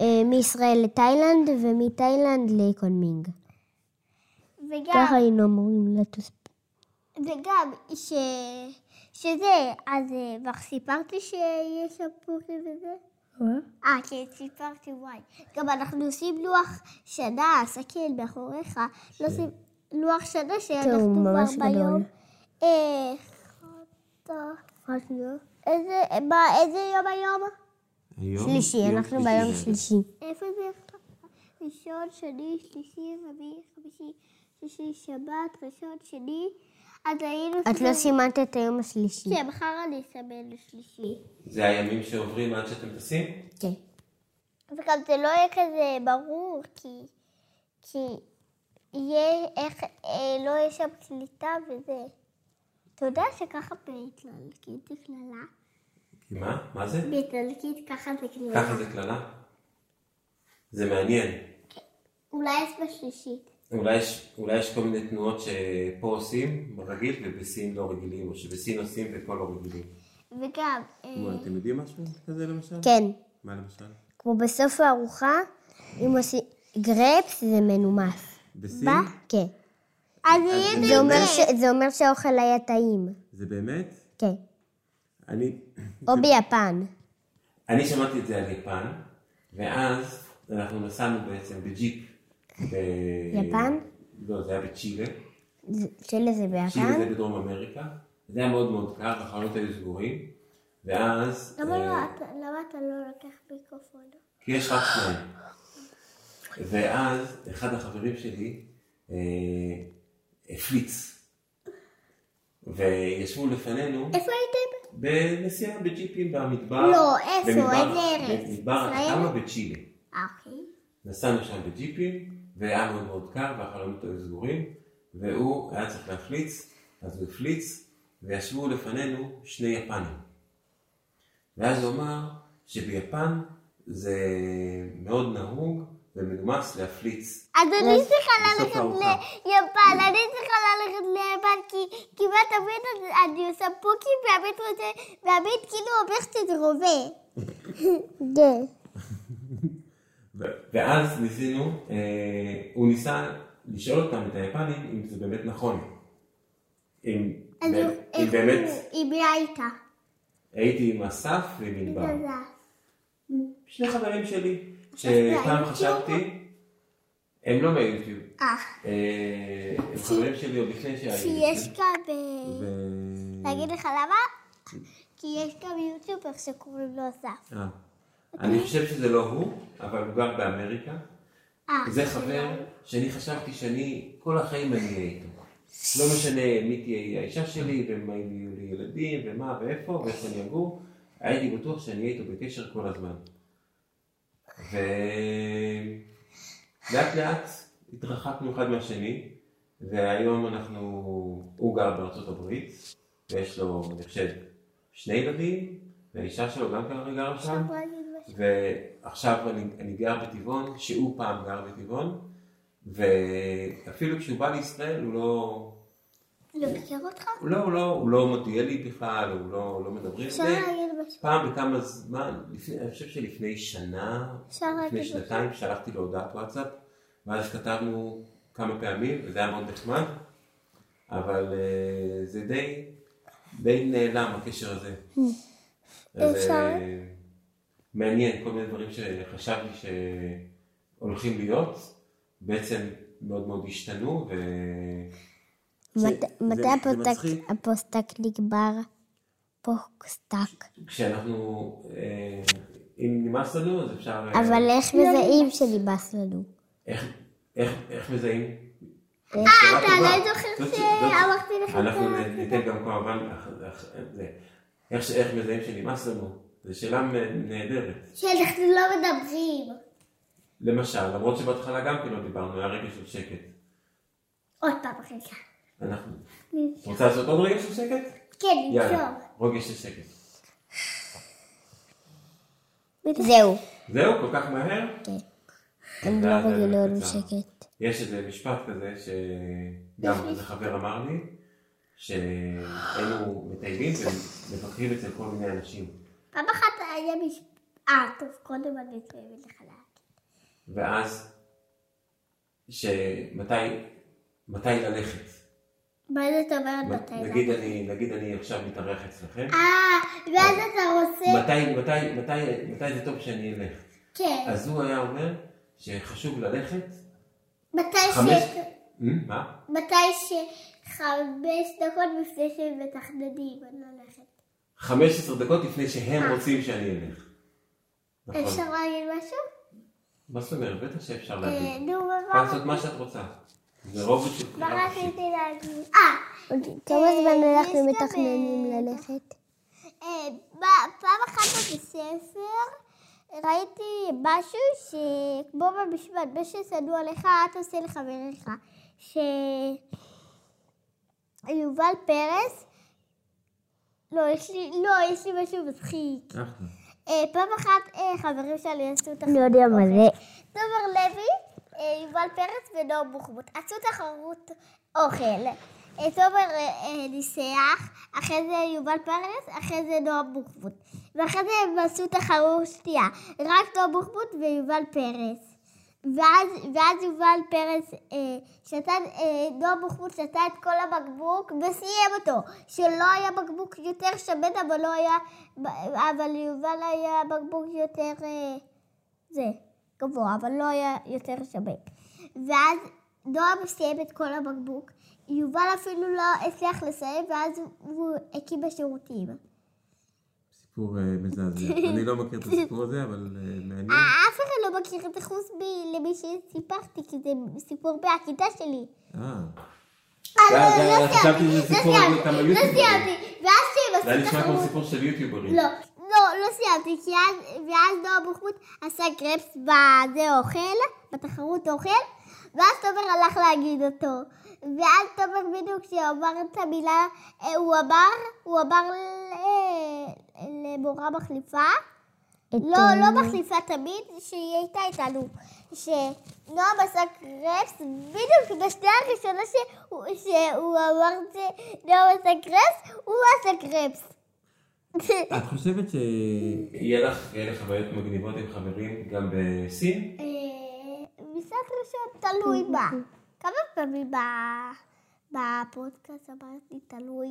אה, מישראל לתאילנד ומתאילנד לקונמינג.
וגם,
ככה היינו אמורים לטוס.
וגם, ש... שזה, אז אה, כבר סיפרתי שיש שם פורים וזה? אה, כן, סיפרתי, וואי. גם אנחנו עושים לוח שנה, הסכין מאחוריך. לא עושים לוח שנה שאנחנו
ממש
כבר ביום.
גדול.
אה, חטא. איזה, מה, איזה יום היום?
היום?
שלישי,
יום
אנחנו ביום
זה.
שלישי.
איפה זה עכשיו? ראשון, שני, שלישי, רביעי, חמישי, שישי, שבת, ראשון, שני. אז היינו...
את לא סימנת את היום השלישי.
כן, מחר אני אסמן לשלישי.
זה הימים שעוברים עד שאתם טסים?
כן.
וגם זה לא יהיה כזה ברור, כי... כי יהיה איך... אה, לא יהיה שם קליטה וזה. אתה יודע שככה באיטלקית זה קללה?
מה? מה זה?
באיטלקית ככה זה קללה.
ככה זה קללה? זה מעניין.
אולי אז בשלישית.
אולי יש, אולי יש כל מיני תנועות שפה עושים רגיל ובסין לא רגילים, או שבסין עושים ופה לא רגילים.
וגם... אה,
מה, אתם יודעים משהו כזה למשל?
כן.
מה למשל?
כמו בסוף הארוחה, אם עושים גרפס זה מנומס.
בסין?
כן.
אז יהיה
זה
זה
די...
אומר, ש... זה אומר שהאוכל היה טעים.
זה באמת?
כן.
אני...
או ביפן.
אני שמעתי את זה על יפן, ואז אנחנו נסענו בעצם בג'יפ. ב...
יפן?
לא, זה היה בצ'ילה.
זה- של איזה
צ'ילה
אה?
ביפן?
כאילו זה בדרום אמריקה. זה היה מאוד מאוד קר, החלונות היו סגורים. ואז...
למה
אה,
לא- אתה- למה אתה לא לקח מיקרופון?
כי יש רק שניים. ואז אחד החברים שלי אה, הפליץ. וישבו לפנינו
איפה הייתם?
בנסיעה בג'יפים במדבר.
אה? לא, איפה?
במדבר-
איזה ארץ?
במדבר
ישראל?
התחלנו בצ'ילה.
אה, אוקיי.
נסענו שם בג'יפים, והיה מאוד מאוד קר והחלונות היו סגורים, והוא היה צריך להפליץ, אז הוא הפליץ, וישבו לפנינו שני יפנים. ואז הוא אמר שביפן זה מאוד נהוג ומנומס להפליץ.
אז אני צריכה
בסוף
ללכת
הארוחה.
ליפן, אני צריכה ללכת ליפן, כי כמעט תמיד אני עושה פוקים והבית רוצה, והבית כאילו אומר שזה רובה. כן.
ואז ניסינו, אה, הוא ניסה לשאול אותם, את היפנים, אם זה באמת נכון. אם,
אז
אם,
הוא-
אם
איך
באמת
הוא- היא מי הייתה?
הייתי עם אסף ועם ענבר. שני חברים שלי, שפעם
מהיוטיוב?
חשבתי, הם לא מהיוטיוב.
אה,
אה, הם חברים שלי עוד לפני שהיה
שיש גם...
יוטיוב.
ו...
אה, להגיד לך למה? כי יש גם יוטיובר שקוראים לו אסף.
אה,
אני חושב שזה לא הוא, אבל הוא גר באמריקה.
אה,
זה חבר שאני חשבתי שאני, כל החיים אני אהיה איתו. לא משנה מי תהיה האישה שלי, ומה אם יהיו לי ילדים, ומה ואיפה, ואיפה אני אגור, הייתי בטוח שאני אהיה איתו בקשר כל הזמן. ולאט לאט התרחקנו אחד מהשני, והיום אנחנו, הוא גר בארצות הברית, ויש לו, אני חושב, שני ילדים, והאישה שלו גם כנראה גרה שם.
בוא נגיד משהו.
ועכשיו אני, אני גר בטבעון, שהוא פעם גר בטבעון, ואפילו כשהוא בא לישראל הוא לא,
לא מכיר אותך?
הוא לא, הוא לא, הוא לא מודיע לי בכלל, הוא לא, הוא לא מדברים על
אפשר
זה.
להגיד משהו.
פעם בכמה זמן, לפני, אני חושב שלפני שנה,
אפשר
לפני
להגיד משהו.
שנתיים, שלחתי לו הודעת וואטסאפ, ואז כתבנו כמה פעמים, וזה היה מאוד נחמד, אבל אה, זה די, די נעלם הקשר הזה. אז,
אה, אפשר?
אה, מעניין, כל מיני דברים שחשבתי שהולכים להיות, בעצם מאוד מאוד השתנו, ו...
מת-
זה-
מתי
זה
הפוסטק-
מצחיק.
הפוסטק נגמר? פוסטק.
כשאנחנו, אה, אם נמאס לנו, אז אפשר... אה,
אבל איך מזהים שנמאס לנו?
איך, איך, איך מזהים? אה,
אתה לא זוכר שאמרתי לך את
אנחנו
זה?
ניתן גם כמובן, אח- אח- זה. איך ש- איך מזהים שנמאס לנו? זו שאלה מ- נהדרת.
שאנחנו לא מדברים.
למשל, למרות שבהתחלה גם כן לא דיברנו, היה רגע של שקט.
עוד פעם רגע.
אנחנו... רוצה לעשות עוד רגע של שקט?
כן, נמשוך.
רגע של שקט.
זהו.
זהו, כל כך מהר?
כן.
הם
זה
לא
היה באמת
רגילים
קצר.
לשקט.
יש איזה משפט כזה שגם איזה חבר אמר לי, שהיינו מטיילים ומבקרים אצל כל מיני אנשים.
פעם אחת היה משפט... אה, טוב, קודם אני אתן לך להגיד.
ואז, שמתי, מתי ללכת?
מה זאת אומרת מתי?
נגיד אני, נגיד אני עכשיו מתארח אצלכם,
אה, ואז אתה רוצה...
מתי, מתי, מתי, מתי זה טוב שאני אלך?
כן.
אז הוא היה אומר שחשוב ללכת,
מתי
חמש,
ש...
אמ, מה?
מתי ש... חמש דקות לפני שהם מתכננים, אני הולכת.
15 דקות לפני שהם רוצים שאני אלך. נכון.
אה. אפשר להגיד משהו?
מה זאת אומרת? בטח שאפשר
אה,
להגיד.
נו,
יכולה
מה
לעשות מה שאת רוצה. זה רובוט של
מה
בחירה חופשית.
רציתי להגיד? אה,
כמה זמן
אה, יש גם,
אנחנו מתכננים
אה,
ללכת?
אה, ב- פעם אחת בבית ספר ראיתי משהו שכמו במשפט, מה ששנוא עליך, את עושה לחבריך. שיובל פרס, לא, יש לי, לא, יש לי משהו מצחיק.
אחלה.
אה, פעם אחת אה, חברים שלי עשו תחרות.
אני לא יודע מה זה.
תומר לוי, אה, יובל פרץ ונאור בוחבוט. עשו תחרות אוכל. אה, תומר אה, אה, ניסח, אחרי זה יובל פרץ, אחרי זה נאור בוחבוט. ואחרי זה הם עשו תחרות שתייה. רק נאור בוחבוט ויובל פרץ. ואז, ואז יובל פרץ אה, שתה, אה, נועה בוחבוט שתה את כל הבקבוק וסיים אותו. שלא היה בקבוק יותר שמן, אבל לא היה, אבל ליובל היה בקבוק יותר... אה, זה, גבוה, אבל לא היה יותר שווה. ואז נועם סיים את כל הבקבוק, יובל אפילו לא הצליח לסיים, ואז הוא- הוא הקים בשירותים.
סיפור אה, מזעזע. אני לא מכיר את הסיפור הזה, אבל אה, מעניין.
אף אחד לא מכיר את זה חוץ מלמי שסיפרתי, כי זה סיפור מהכיתה שלי.
אה,
אה, לא,
זה-
לא
זה- חשבתי
סיימתי,
שזה
לא
סיפור על
סיימתי,
כמה
לא
יוטיוברים.
סיימתי. ואז שהם
זה היה
עשו
נשמע כמו
תחרות...
סיפור של יוטיוברים.
לא, לא, לא לא סיימתי, כי אז, ואז נועה בוחבוט עשה קרפס בזה אוכל, בתחרות אוכל, ואז תומר הלך להגיד אותו. ואז תומר בדיוק כשאמר את המילה, אה, הוא אמר, הוא אמר ל- אה, למורה מחליפה,
את אה,
לא,
ה-
לא מחליפה תמיד, שהיא הייתה איתנו, שנועם עשה קרפס, בדיוק בשנייה הראשונה שהוא, שהוא אמר שנועם עשה קרפס, הוא עשה קרפס.
את חושבת ש...
יהיה לך כאלה חוויות מגניבות עם חברים גם בסין?
אה, משחק ראשון תלוי מה. כמה פעמים ב- בפודקאסט אמרתי תלוי?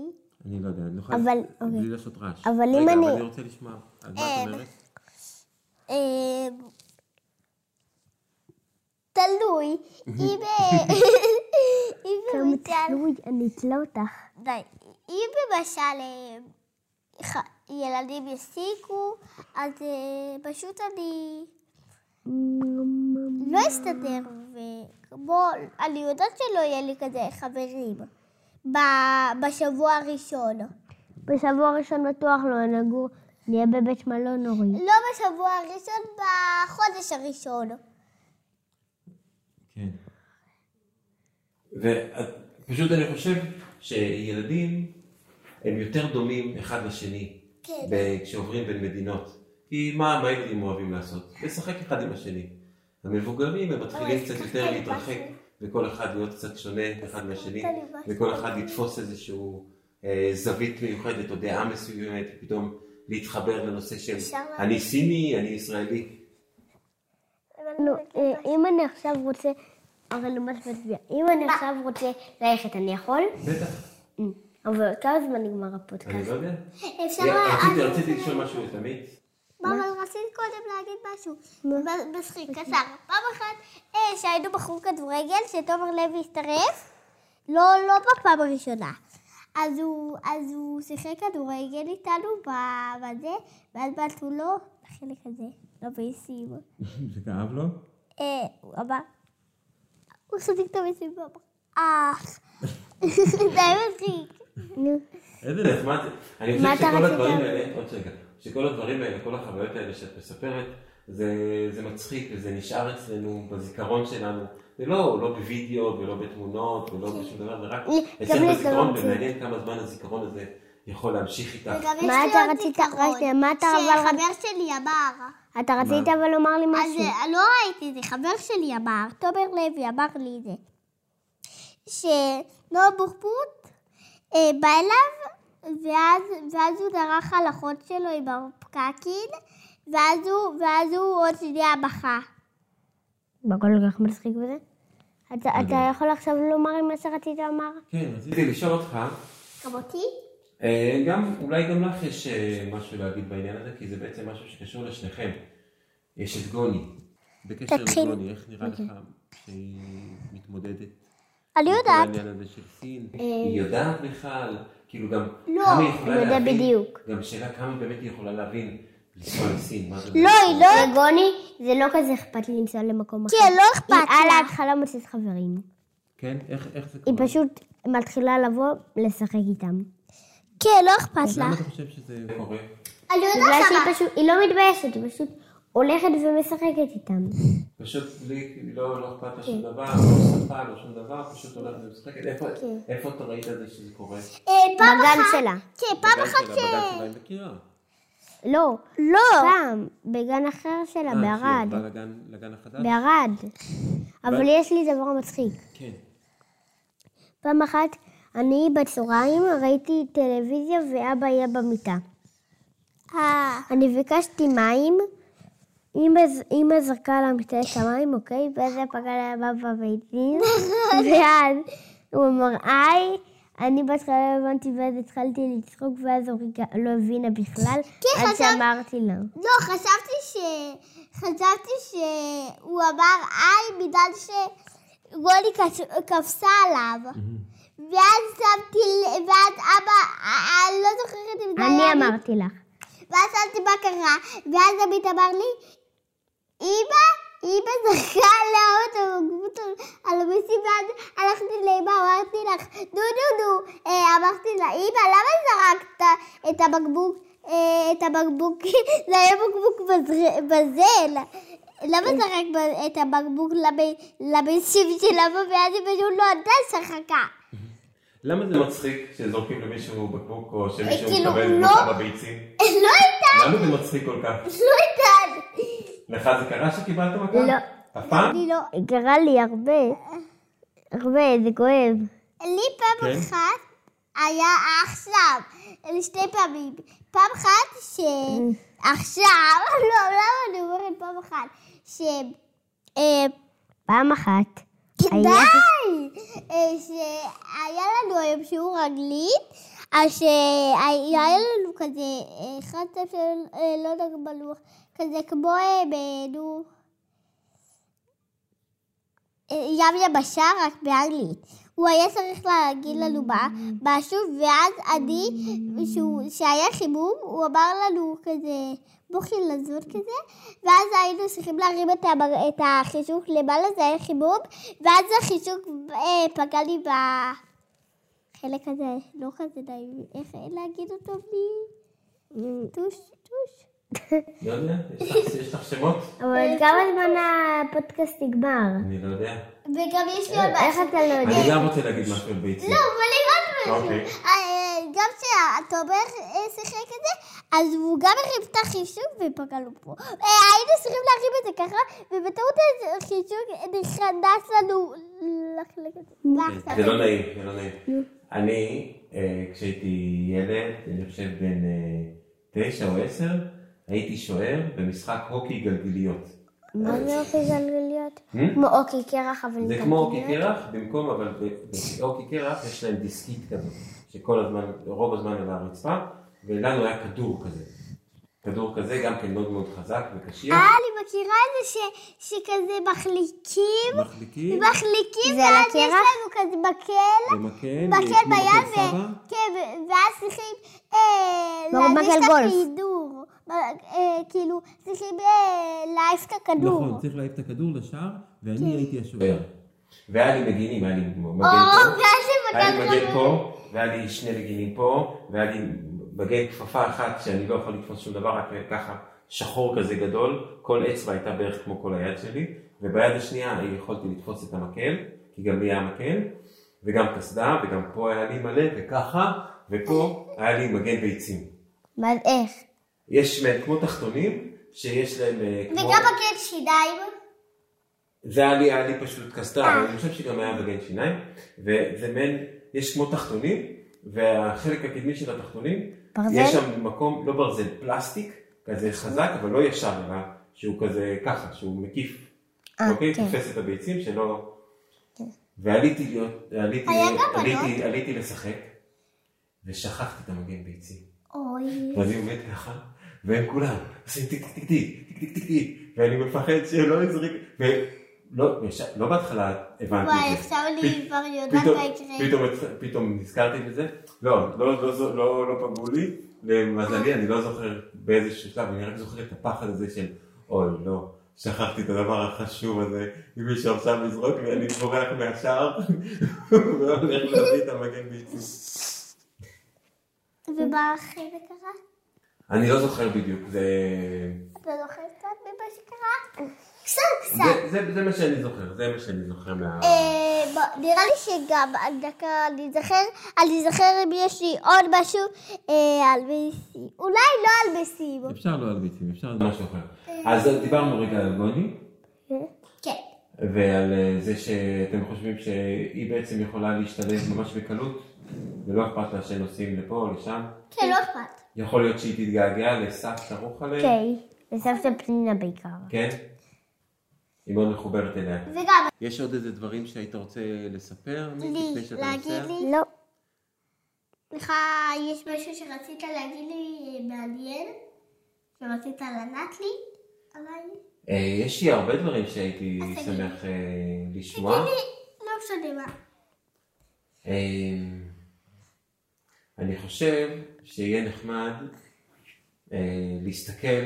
אני לא יודע, אני לא יכול...
אבל- אוקיי.
בלי לעשות רעש.
אבל אם
רגע,
אני-
אבל אני רוצה לשמוע. אז מה את אומרת?
אה, תלוי. אם... אה, אם
לא,
למשל...
תלוי, אני אתלה אותך.
די. אם למשל אה, ח- ילדים יסיקו, אז אה, פשוט אני... לא אסתדר, וכמו, אני יודעת שלא יהיה לי כזה חברים ב- בשבוע הראשון.
בשבוע הראשון בטוח לא נגור, נהיה בבית מלון אורי.
לא בשבוע הראשון, בחודש הראשון.
כן.
ופשוט אני חושב שילדים הם יותר דומים אחד לשני
כן.
ב- כשעוברים בין מדינות. כי מה, מה ילדים אוהבים לעשות? לשחק אחד עם השני. המבוגרים הם מתחילים
אוי,
קצת
שכחת
יותר
לי
להתרחק,
משהו.
וכל אחד להיות קצת שונה אחד מהשני,
לי משהו.
וכל אחד לתפוס איזשהו אה, זווית מיוחדת או דעה מסוימת, ופתאום להתחבר לנושא של
אפשר לה-
אני סיני, אני ישראלי.
לא.
נו, אה, אם אני עכשיו רוצה, הרי למה את מצביעה? אם אני עכשיו רוצה ללכת, אני יכול?
בטח,
אה, אבל כמה זמן נגמר הפודקאסט?
אני
כן.
לא יודע.
אפשר...
רציתי- אה, רציתי לשאול משהו את עמית.
אבל רציתי קודם להגיד משהו. ב- מצחיק, קצר. פעם אחת אה, שהיינו בחור כדורגל, שתומר לוי הצטרף, לא, לא בפעם הראשונה. אז הוא, אז הוא שיחק כדורגל איתנו ב- בזה, ואז בעטו לו, החלק הזה, לא ביסים.
זה כאב לו?
אה, הוא אמר, הוא סודיק את הביסים, הוא אמר,
אה,
אך. זה היה מצחיק.
נו,
איזה
זה נחמד. אני
מה
חושב
אתה
שכל
רצית?
הדברים האלה, עוד רגע, שכל הדברים האלה, כל החוויות האלה שאת מספרת, זה, זה מצחיק וזה נשאר אצלנו בזיכרון שלנו. זה לא, לא בווידאו ולא בתמונות ולא בשום דבר, זה רק
לי-
אצלנו
גם לי זה כן. לא
בזיכרון,
מצחיק.
ומעניין כמה זמן הזיכרון הזה יכול להמשיך איתך.
וגם יש
מה
לי
אתה
עוד
רצית?
זיכרון,
רק שנייה, מה אתה אבל רצ-
שחבר שלי אמר.
אתה רצית אבל לומר לי
אה, אז
משהו.
אה, לא ראיתי את זה, חבר שלי אמר, תומר לוי אמר לי את זה, שנועה בוחבוט אה, בא אליו, ואז, ואז הוא דרך על החוד שלו עם הפקקין, ואז הוא, ואז הוא עוד שנייה בכה.
מה כל כך מצחיק בזה? אתה אתה יכול עכשיו לומר לי מה שרצית לומר?
כן, רציתי לשאול אותך,
גם אותי?
אה, גם, אולי גם לך יש אה, משהו להגיד בעניין הזה, כי זה בעצם משהו שקשור לשניכם. יש את גוני.
בקשר
תתחיל.
לגוני, איך נראה
אוקיי.
לך שהיא מתמודדת?
אני
עם כל
יודעת.
העניין הזה של סין.
אה,
היא יודעת בכלל, כאילו גם,
לא,
כמה היא יכולה
הוא יודע
להבין,
בדיוק.
גם שאלה כמה באמת היא יכולה להבין לנסוע לסין, מה זה
לא, היא לא...
לגוני, זה לא כזה אכפת לי לנסוע למקום אחר.
כן, לא אכפת
היא על
לה.
ההתחלה מוצאת חברים.
כן? איך איך זה
היא
קורה?
פשוט מתחילה לבוא לשחק איתם.
כן, לא אכפת לה.
למה אתה חושב שזה
קורה?
אני
בגלל
יודעת למה.
שהיא פשוט, היא לא מתביישת, היא פשוט הולכת ומשחקת איתם.
פשוט בלי, לא לא אכפת לה שום
כן.
דבר, לא שפה, לא שום דבר, פשוט הולכת ומשחקת. איפה-
אוקיי.
איפה אתה ראית את זה שזה קורה?
אה, פעם
בגן
אחת-
שלה.
כן, פעם
בגן
אחת
שלה,
ש...
בגן שלה היא מכירה.
לא,
לא.
פעם, בגן אחר שלה,
אה, שהיא
בערד.
עברה לגן- לגן
נכון?
החדש?
בערד. אבל יש לי דבר מצחיק.
כן.
פעם אחת, אני בצהריים ראיתי טלוויזיה ואבא היה במיטה.
אה,
אני ביקשתי מים, אמא ז- אמא זרקה למיטה את המים, אוקיי? ואז זה פגע לאבא בבית דין, ואז הוא אמר, היי, אני בהתחלה לא הבנתי, ואז התחלתי לצחוק, ואז אוריקה לא הבינה בכלל,
כן,
עד
חשב-
שאמרתי לה.
לא, חשבתי ש... חשבתי שהוא אמר איי בגלל שגולי קש- קפצה עליו. ואז שמתי ל... ואז אבא... אני לא זוכרת אם זה היה...
אני
לי.
אמרתי לך.
ואז שאלתי מה קרה, ואז עמית אמר לי, אמא, אמא זרקה על האוטו, בקבוצה על המיסים, ואז הלכתי לאמא, אמרתי לך, נו נו נו, אה, אמרתי לה, אמא, למה זרקת את הבקבוק? אה, את הבקבוק, זה היה בקבוק בזר- בזל. למה זרק ב- את הבקבוק לב- לבנשיב של אבא ואז היא פשוט לא עדה שחקה?
למה
לא-
זה מצחיק שזורקים למישהו בקבוק או שמישהו
כאילו,
מקבל
הוא לא-
מישהו בביצים?
לא הייתה,
למה זה מצחיק כל כך?
לא הייתה.
לך זה קרה שקיבלת מכה?
לא.
אף פעם?
אני לא.
קרה לי הרבה, הרבה, זה כואב.
לי פעם
כן.
אחת היה עכשיו, שתי פעמים. פעם אחת ש... עכשיו, לא, למה אני אומרת פעם אחת? ש... אה,
פעם אחת.
די!
היה-
אה, שהיה לנו היום שיעור אנגלית, אז שהיה לנו כזה, אה, אחד של, אה, לא יודע בלוח, כזה כמו, אה, ב- נו, אה, ים יבשה, רק באנגלית. הוא היה צריך להגיד לנו מה, משהו, ואז אני, שהוא, שהיה חימום, הוא אמר לנו כזה, בוכי לזון כזה, ואז היינו צריכים להרים את, המר... את החישוק למעלה, זה היה חימום, ואז החישוק אה, פגע לי בחלק הזה, לא כזה נעים, איך להגיד אותו בלי טוש, טוש.
לא יודע, יש לך- יש לך שמות?
אה,
אבל כמה זמן הפודקאסט נגמר?
אני לא יודע.
וגם יש לי עוד
איך אתה לא יודע?
אני גם רוצה להגיד משהו על ביצים.
לא, אבל אני עוד
אוקיי.
משהו. אה, גם כשהתומר אה, שיחק את זה, אז הוא גם הרים את החישוק ופגע לו פה. אה, היינו צריכים להרים את זה ככה, ובטעות החישוק נכנס לנו לחלק את זה.
אוקיי.
זה לא נעים, זה לא נעים. אני, אה, כשהייתי ילד, אני חושב בן אה, תשע או עשר, הייתי שוער במשחק הוקי גלגיליות.
מה זה אופי גלגליות?
Hmm?
כמו אוקי קרח, אבל
זה כמו אוקי קרח, במקום, אבל ב- באוקי קרח יש להם דיסקית כזאת, שכל הזמן, רוב הזמן על הרצפה, ולנו היה כדור כזה. כדור כזה גם כן מאוד מאוד חזק וקשיח.
אה, אני מכירה את זה ש- שכזה מחליקים,
מחליקים,
מחליקים,
זה על
ואז יש
הקרח?
לנו כזה מקל,
במקל, יש
מקל
כמו
ביד,
מקל סבא.
ו- כן, ו- ואז צריכים אה,
לא, מקל
את
גולף.
הכידור. אה, כאילו, צריכים אה, להעיף את הכדור.
נכון, צריך להעיף את הכדור לשער,
כן.
ואני הייתי
כן.
השוער.
והיה לי מגינים, היה לי מגן
או,
פה,
ואז זה
היה לי
מגן
מגן אה, פה, והיה לי שני מגינים פה, והיה לי מגן כפפה אחת שאני לא יכול לתפוס שום דבר, רק ככה שחור כזה גדול, כל אצבע הייתה בערך כמו כל היד שלי, וביד השנייה יכולתי לתפוס את המקל, כי גם לי היה מקל, וגם קסדה, וגם פה היה לי מלא, וככה, ופה היה לי מגן ביצים.
מה זה, איך?
יש מהם כמו תחתונים, שיש להם אה, כמו...
וגם מגן שיניים.
זה היה לי, היה לי פשוט קסדה, אבל אני חושב שגם היה מגן שיניים, וזה מעין, יש כמו תחתונים, והחלק הקדמי של התחתונים,
ברזל?
יש שם מקום, לא ברזל, פלסטיק, כזה חזק, אבל לא ישר, אלא שהוא כזה ככה, שהוא מקיף,
אה,
אוקיי?
כן.
תופס את הביצים שלא... ועליתי להיות, עליתי,
היה גם
עליתי, עליתי לשחק, ושכחתי את המגן ביצים.
אוי.
ואני עומד ככה, והם כולם עושים טיק טיק טיק טיק טיק טיק טיק, ואני מפחד שלא יזריק, ולא, יש- לא בהתחלה הבנתי
וואי,
את זה.
עכשיו אני
פ-
כבר יודעת
פתאום-
מה יקרה.
פתאום הצ- פתאום נזכרתי בזה, לא, לא, לא, זו- לא, לא פגעו לי, למזלי אני לא זוכר באיזה שלב, אני רק זוכר את הפחד הזה של, אוי לא, שכחתי את הדבר החשוב הזה, אם מישהו עכשיו יזרוק לי, אני בורח מהשער, והולך להביא את המגן ביצים.
ומה אחרי זה קרה?
אני לא זוכר בדיוק, זה...
אתה זוכר קצת ממה שקרה? קצת קצת.
זה- זה זה מה שאני זוכר, זה מה שאני זוכר מה...
אה, בוא, נראה לי שגם, דקה, אני אזכר, אני אזכר אם יש לי עוד משהו אה, על מסי. אולי לא על מסי.
אפשר לא על ביצים, אפשר...
משהו אחר.
אה.
אז דיברנו רגע על גוני,
כן.
ועל אה, זה שאתם חושבים שהיא בעצם יכולה להשתלב ממש בקלות, ולא אכפת לה שנוסעים לפה או לשם.
כן, לא אכפת.
יכול להיות שהיא תתגעגע לסבתא רוחלה,
אוקיי, וסבתא פנינה בעיקר.
כן? היא מאוד מחוברת אליה.
וגם,
יש עוד איזה דברים שהיית רוצה לספר?
כן,
לי, להגיד לי.
לא.
לך יש משהו שרצית להגיד לי אה, מעניין? שרצית לענות לי? אבל
אה, יש לי הרבה דברים שהייתי
אז תגידי.
שמח אה, לשמוע.
לא משנה מה.
אמ, אני חושב שיהיה נחמד אה, להסתכל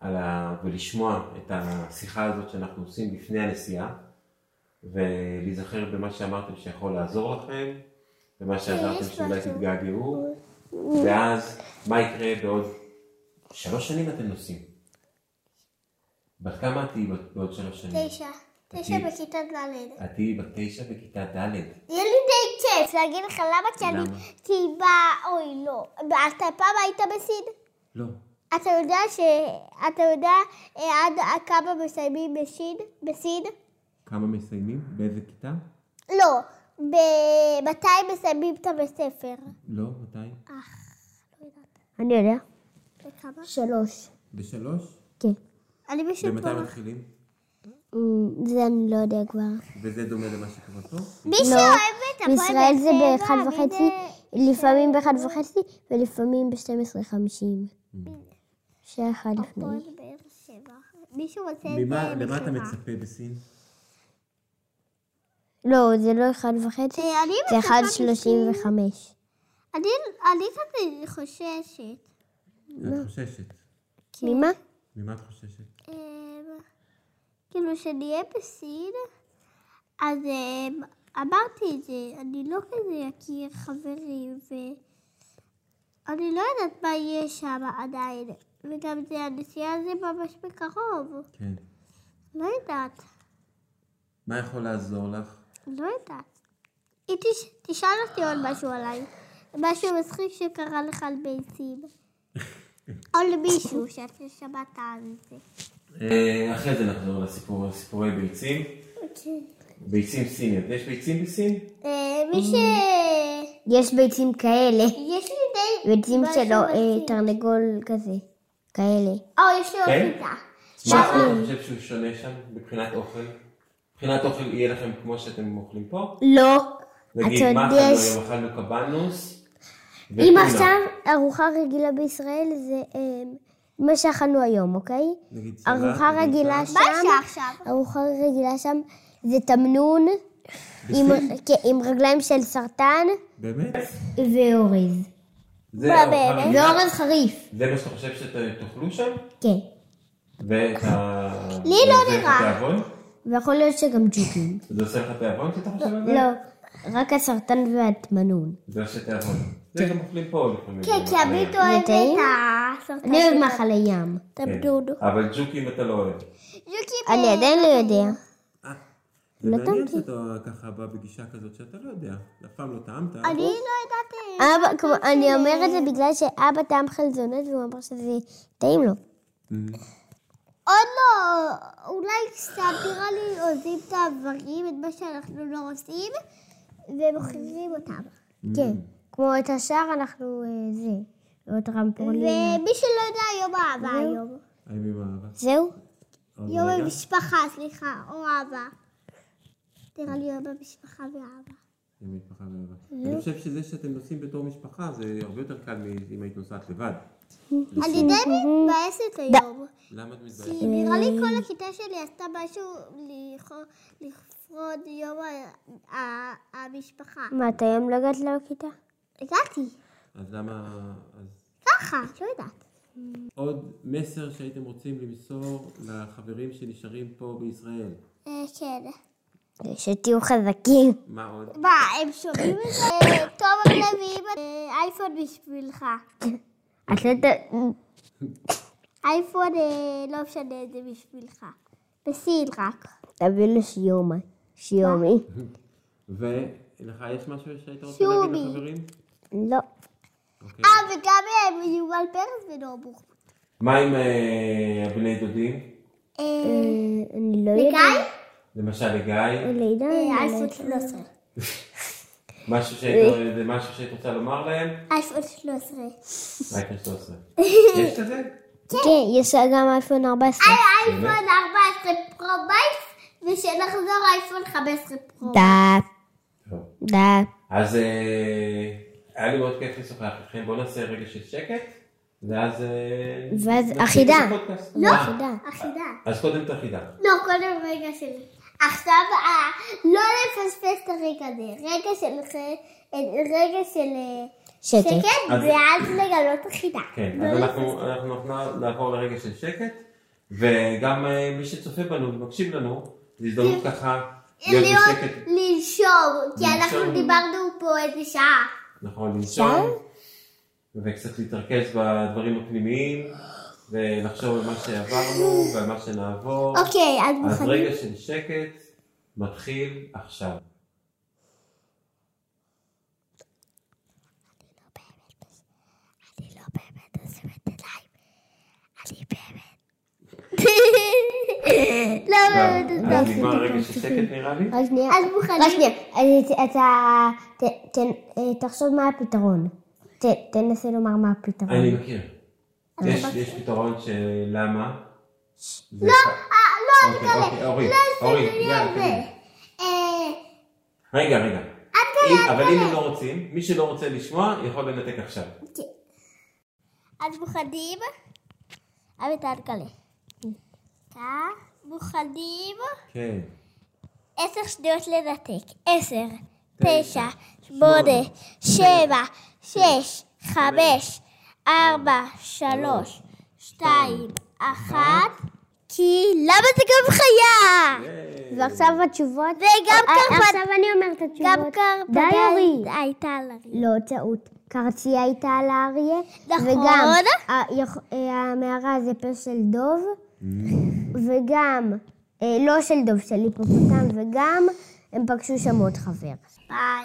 על ה... ולשמוע את השיחה הזאת שאנחנו עושים לפני הנסיעה, ולהיזכר במה שאמרתם שיכול לעזור לכם, ומה שאמרתם
יש
שאולי
משהו.
תתגעגעו, ואז מה יקרה בעוד שלוש שנים אתם נוסעים. בת כמה את תהיי בת- בעוד שלוש שנים?
תשע. תשע בכיתה ד'.
את תהיי בת תשע בכיתה ד'.
יהיה לי די כיף להגיד לך למה כי אני...
למה?
כי בא... אוי, לא. אתה פעם היית בסין?
לא.
אתה יודע ש... אתה יודע אה, עד כמה מסיימים בסין? בסין?
כמה מסיימים? באיזה כיתה?
לא. ב- מתי מסיימים את הבית ספר?
לא, מתי?
אני יודע.
בכמה?
שלוש.
בשלוש?
כן.
אני בשביל
ומתי מתחילים?
אמ, זה אני לא יודע כבר.
וזה דומה למה שקורה פה?
מי שאוהב את הפועל
לא. בישראל זה
באר שבע, אה,
באחד
מי
וחצי, לפעמים באחד וחצי, ולפעמים ב-12.50.
Hmm.
שעה אחת לפני.
הפועל באר שבע. מישהו רוצה את
ממה-
זה
למה אתה
בשבילך.
מצפה בסין?
לא, זה לא אחד וחצי,
אה, אני
זה אחד
מצפה
שלושים וחמש.
אני, אני קצת חוששת.
לא.
את חוששת.
ממה?
ממה את חוששת?
אמ, כאילו, שנהיה בסין, אז אמ, אמרתי את זה, אני לא כזה אכיר חברים, ואני לא יודעת מה יהיה שם עדיין, וגם זה, הנסיעה זה ממש בקרוב,
כן.
לא יודעת,
מה יכול לעזור לך?
לא יודעת. אם תש- תשאל אותי עוד משהו עליי, משהו מצחיק שקרה לך על ביצים. או למישהו שאתה שמעת על זה.
אה, אחרי זה נחזור לסיפור- לסיפורי ביצים. ביצים סיניות. יש ביצים בסין?
אה, מי ש...
יש ביצים כאלה.
יש לי די...
ביצים
משהו
שלא,
מצחיק.
אה, תרנגול כזה. כאלה.
או, יש לי עוד
כן?
חיטה.
מה אתה חושב שהוא שונה שם מבחינת אוכל? מבחינת אוכל יהיה לכם כמו שאתם אוכלים פה?
לא.
נגיד,
אתה
מה לא
יודע
אכלנו
ש-
היום? אכלנו קבנוס?
אם
וטונה.
עכשיו ארוחה רגילה בישראל זה אה, מה שאכלנו היום, אוקיי?
נגיד סלט?
ארוחה
נגיד
רגילה
מה
שם,
אפשר עכשיו?
ארוחה רגילה שם זה תמנון עם- כן, עם רגליים של סרטן
באמת?
ואורז.
זה
מה,
הארוחה
באמת?
הרגילה?
ואורז חריף.
זה מה שאתה חושב שתאכלו שם?
כן.
ואת ה...
לי לא
וזה
נראה.
לך תיאבון?
ויכול להיות שגם ג'וקים.
זה עושה לך תיאבון שאתה חושב על זה?
לא, רק הסרטן והתמנון.
זה עושה תיאבון. זה גם אוכלים פה עוד לפעמים.
כן, כי עמית אוהב
טעים?
את הסרטן.
אני אוהב מאכלי ים.
כן.
תמדודו.
אבל ג'וקים אתה לא אוהב.
אני עדיין לא יודע.
זה מעניין שאתה ככה בא בגישה כזאת שאתה לא יודע. אף פעם לא טעמת.
אני לא יודעת... אה,
אבא, כמו- אני אומרת זה בגלל שאבא טעם חלזונות והוא אמר שזה טעים לו.
עוד לא... אולי סתם נראה לי עוזבים את האיברים, את מה שאנחנו לא עושים, ומוכרים אותם.
כן, כמו את השאר אנחנו אה, זה, לא טרמפולינה.
ומי שלא יודע, יום אהבה היום.
האם עם אהבה?
זהו?
עוד
יום
רגע?
המשפחה, סליחה, או אהבה. נראה לי יום המשפחה ואהבה.
עם משפחה ואהבה.
אה?
אני חושב שזה שאתם נוסעים בתור משפחה זה הרבה יותר קל מאם היית נוסעת לבד.
אני די מתבאסת היום.
למה את מתביישת?
כי נראה לי כל הכיתה שלי עשתה משהו לכו- לכבוד יום ה- ה- המשפחה.
מה, את היום לא הגעת לכיתה?
הגעתי,
אז למה... אז
ככה, לא יודעת.
עוד מסר שהייתם רוצים למסור לחברים שנשארים פה בישראל.
אה, כן.
שתהיו חזקים.
מה עוד?
מה, הם שומעים את זה? טוב, הם מביאים אה, אייפון בשבילך.
את לא ת...
אייפון, אה, לא משנה את זה בשבילך. בסין רק.
כן. תביא לו שיומי. שיומי.
ולך יש משהו שהיית רוצה להגיד
שיומי.
לחברים?
לא.
אוקיי.
אה, וגם אה, יובל פרס ונורבוך.
מה עם אה, הבני דודים?
אה,
אה, אני לא
גיא?
יודעת.
למשל לגיא?
לגיא?
אה, אייפון 13.
משהו שהיית- זה משהו שהיית רוצה לומר להם?
אייפון 13.
אייפון 13. יש כזה?
כן, יש גם אייפון 14.
אה. אייפון 14 פרו מקס, ושנחזור אייפון 15 פרו.
דה,
טוב.
דה.
אז אה, היה לי מאוד כיף לשוחח איתכם. בואו נעשה רגע של שקט, ואז... אה,
ואז
נתחיל
אחידה.
את הפודקאסט.
לא,
אה,
אחידה.
אחידה.
אז קודם את החידה.
לא, קודם רגע שלי. עכשיו, אה, לא לפספס את הרגע הזה. רגע של ח- אה, רגע של אה,
שקט.
שקט,
אז-
ואז לגלות לא אחידה.
כן, אז אנחנו אנחנו נע- נעבור לרגע של שקט, וגם אה, מי שצופה בנו ומקשיב לנו, זו הזדמנות ככה להיות
כן. להיות
בשקט.
לנשום, כי
לנשום.
אנחנו דיברנו פה איזה שעה. כן.
נכון, לנשום, וקצת להתרכז בדברים הפנימיים, ולחשוב על מה שעברנו ועל מה שנעבור.
אוקיי, אז
אז
מוכנים.
רגע של שקט מתחיל עכשיו.
אני לא באמת עוזבת עיניים. אני באמת. לא באמת
אז
עוזבת
נגמר
אה,
הרגע של שקט נראה לי.
רק שנייה.
אז מוכנים.
רק שנייה. אני- כן, אתה... ת- ת- אה, תחשוב מה הפתרון. ת- תנסה לומר מה
אה,
הפתרון.
אני מכיר. יש יש פתרון של למה?
לא,
לא,
אל תגלה.
אוקיי, אורי,
לא,
אורי,
זה
יאללה,
לא
קדימה.
זה. אה,
רגע, רגע.
תגלה,
אם-
אל
אבל אם
תגלה.
הם לא רוצים, מי שלא רוצה לשמוע יכול לנתק עכשיו.
כן. אז מוכנים? אבית, אל תגלה. כך, מוכנים?
כן.
עשר שניות לנתק. עשר, תשע, שמונה, שבע, שש, חמש, ארבע, שלוש, שתיים, אחת. כי למה זה גם חיה?
אה,
ועכשיו התשובות?
וגם
אה,
קרפד-
עכשיו אני אומרת את התשובות.
גם
די אורי.
קרפדה הייתה על הריב.
לא, טעות. קרצייה הייתה על האריה.
נכון.
וגם ה- אה, המערה זה פה של דוב, וגם, אה, לא של דוב, של היפופוטם, וגם הם פגשו שם עוד חבר.
ביי.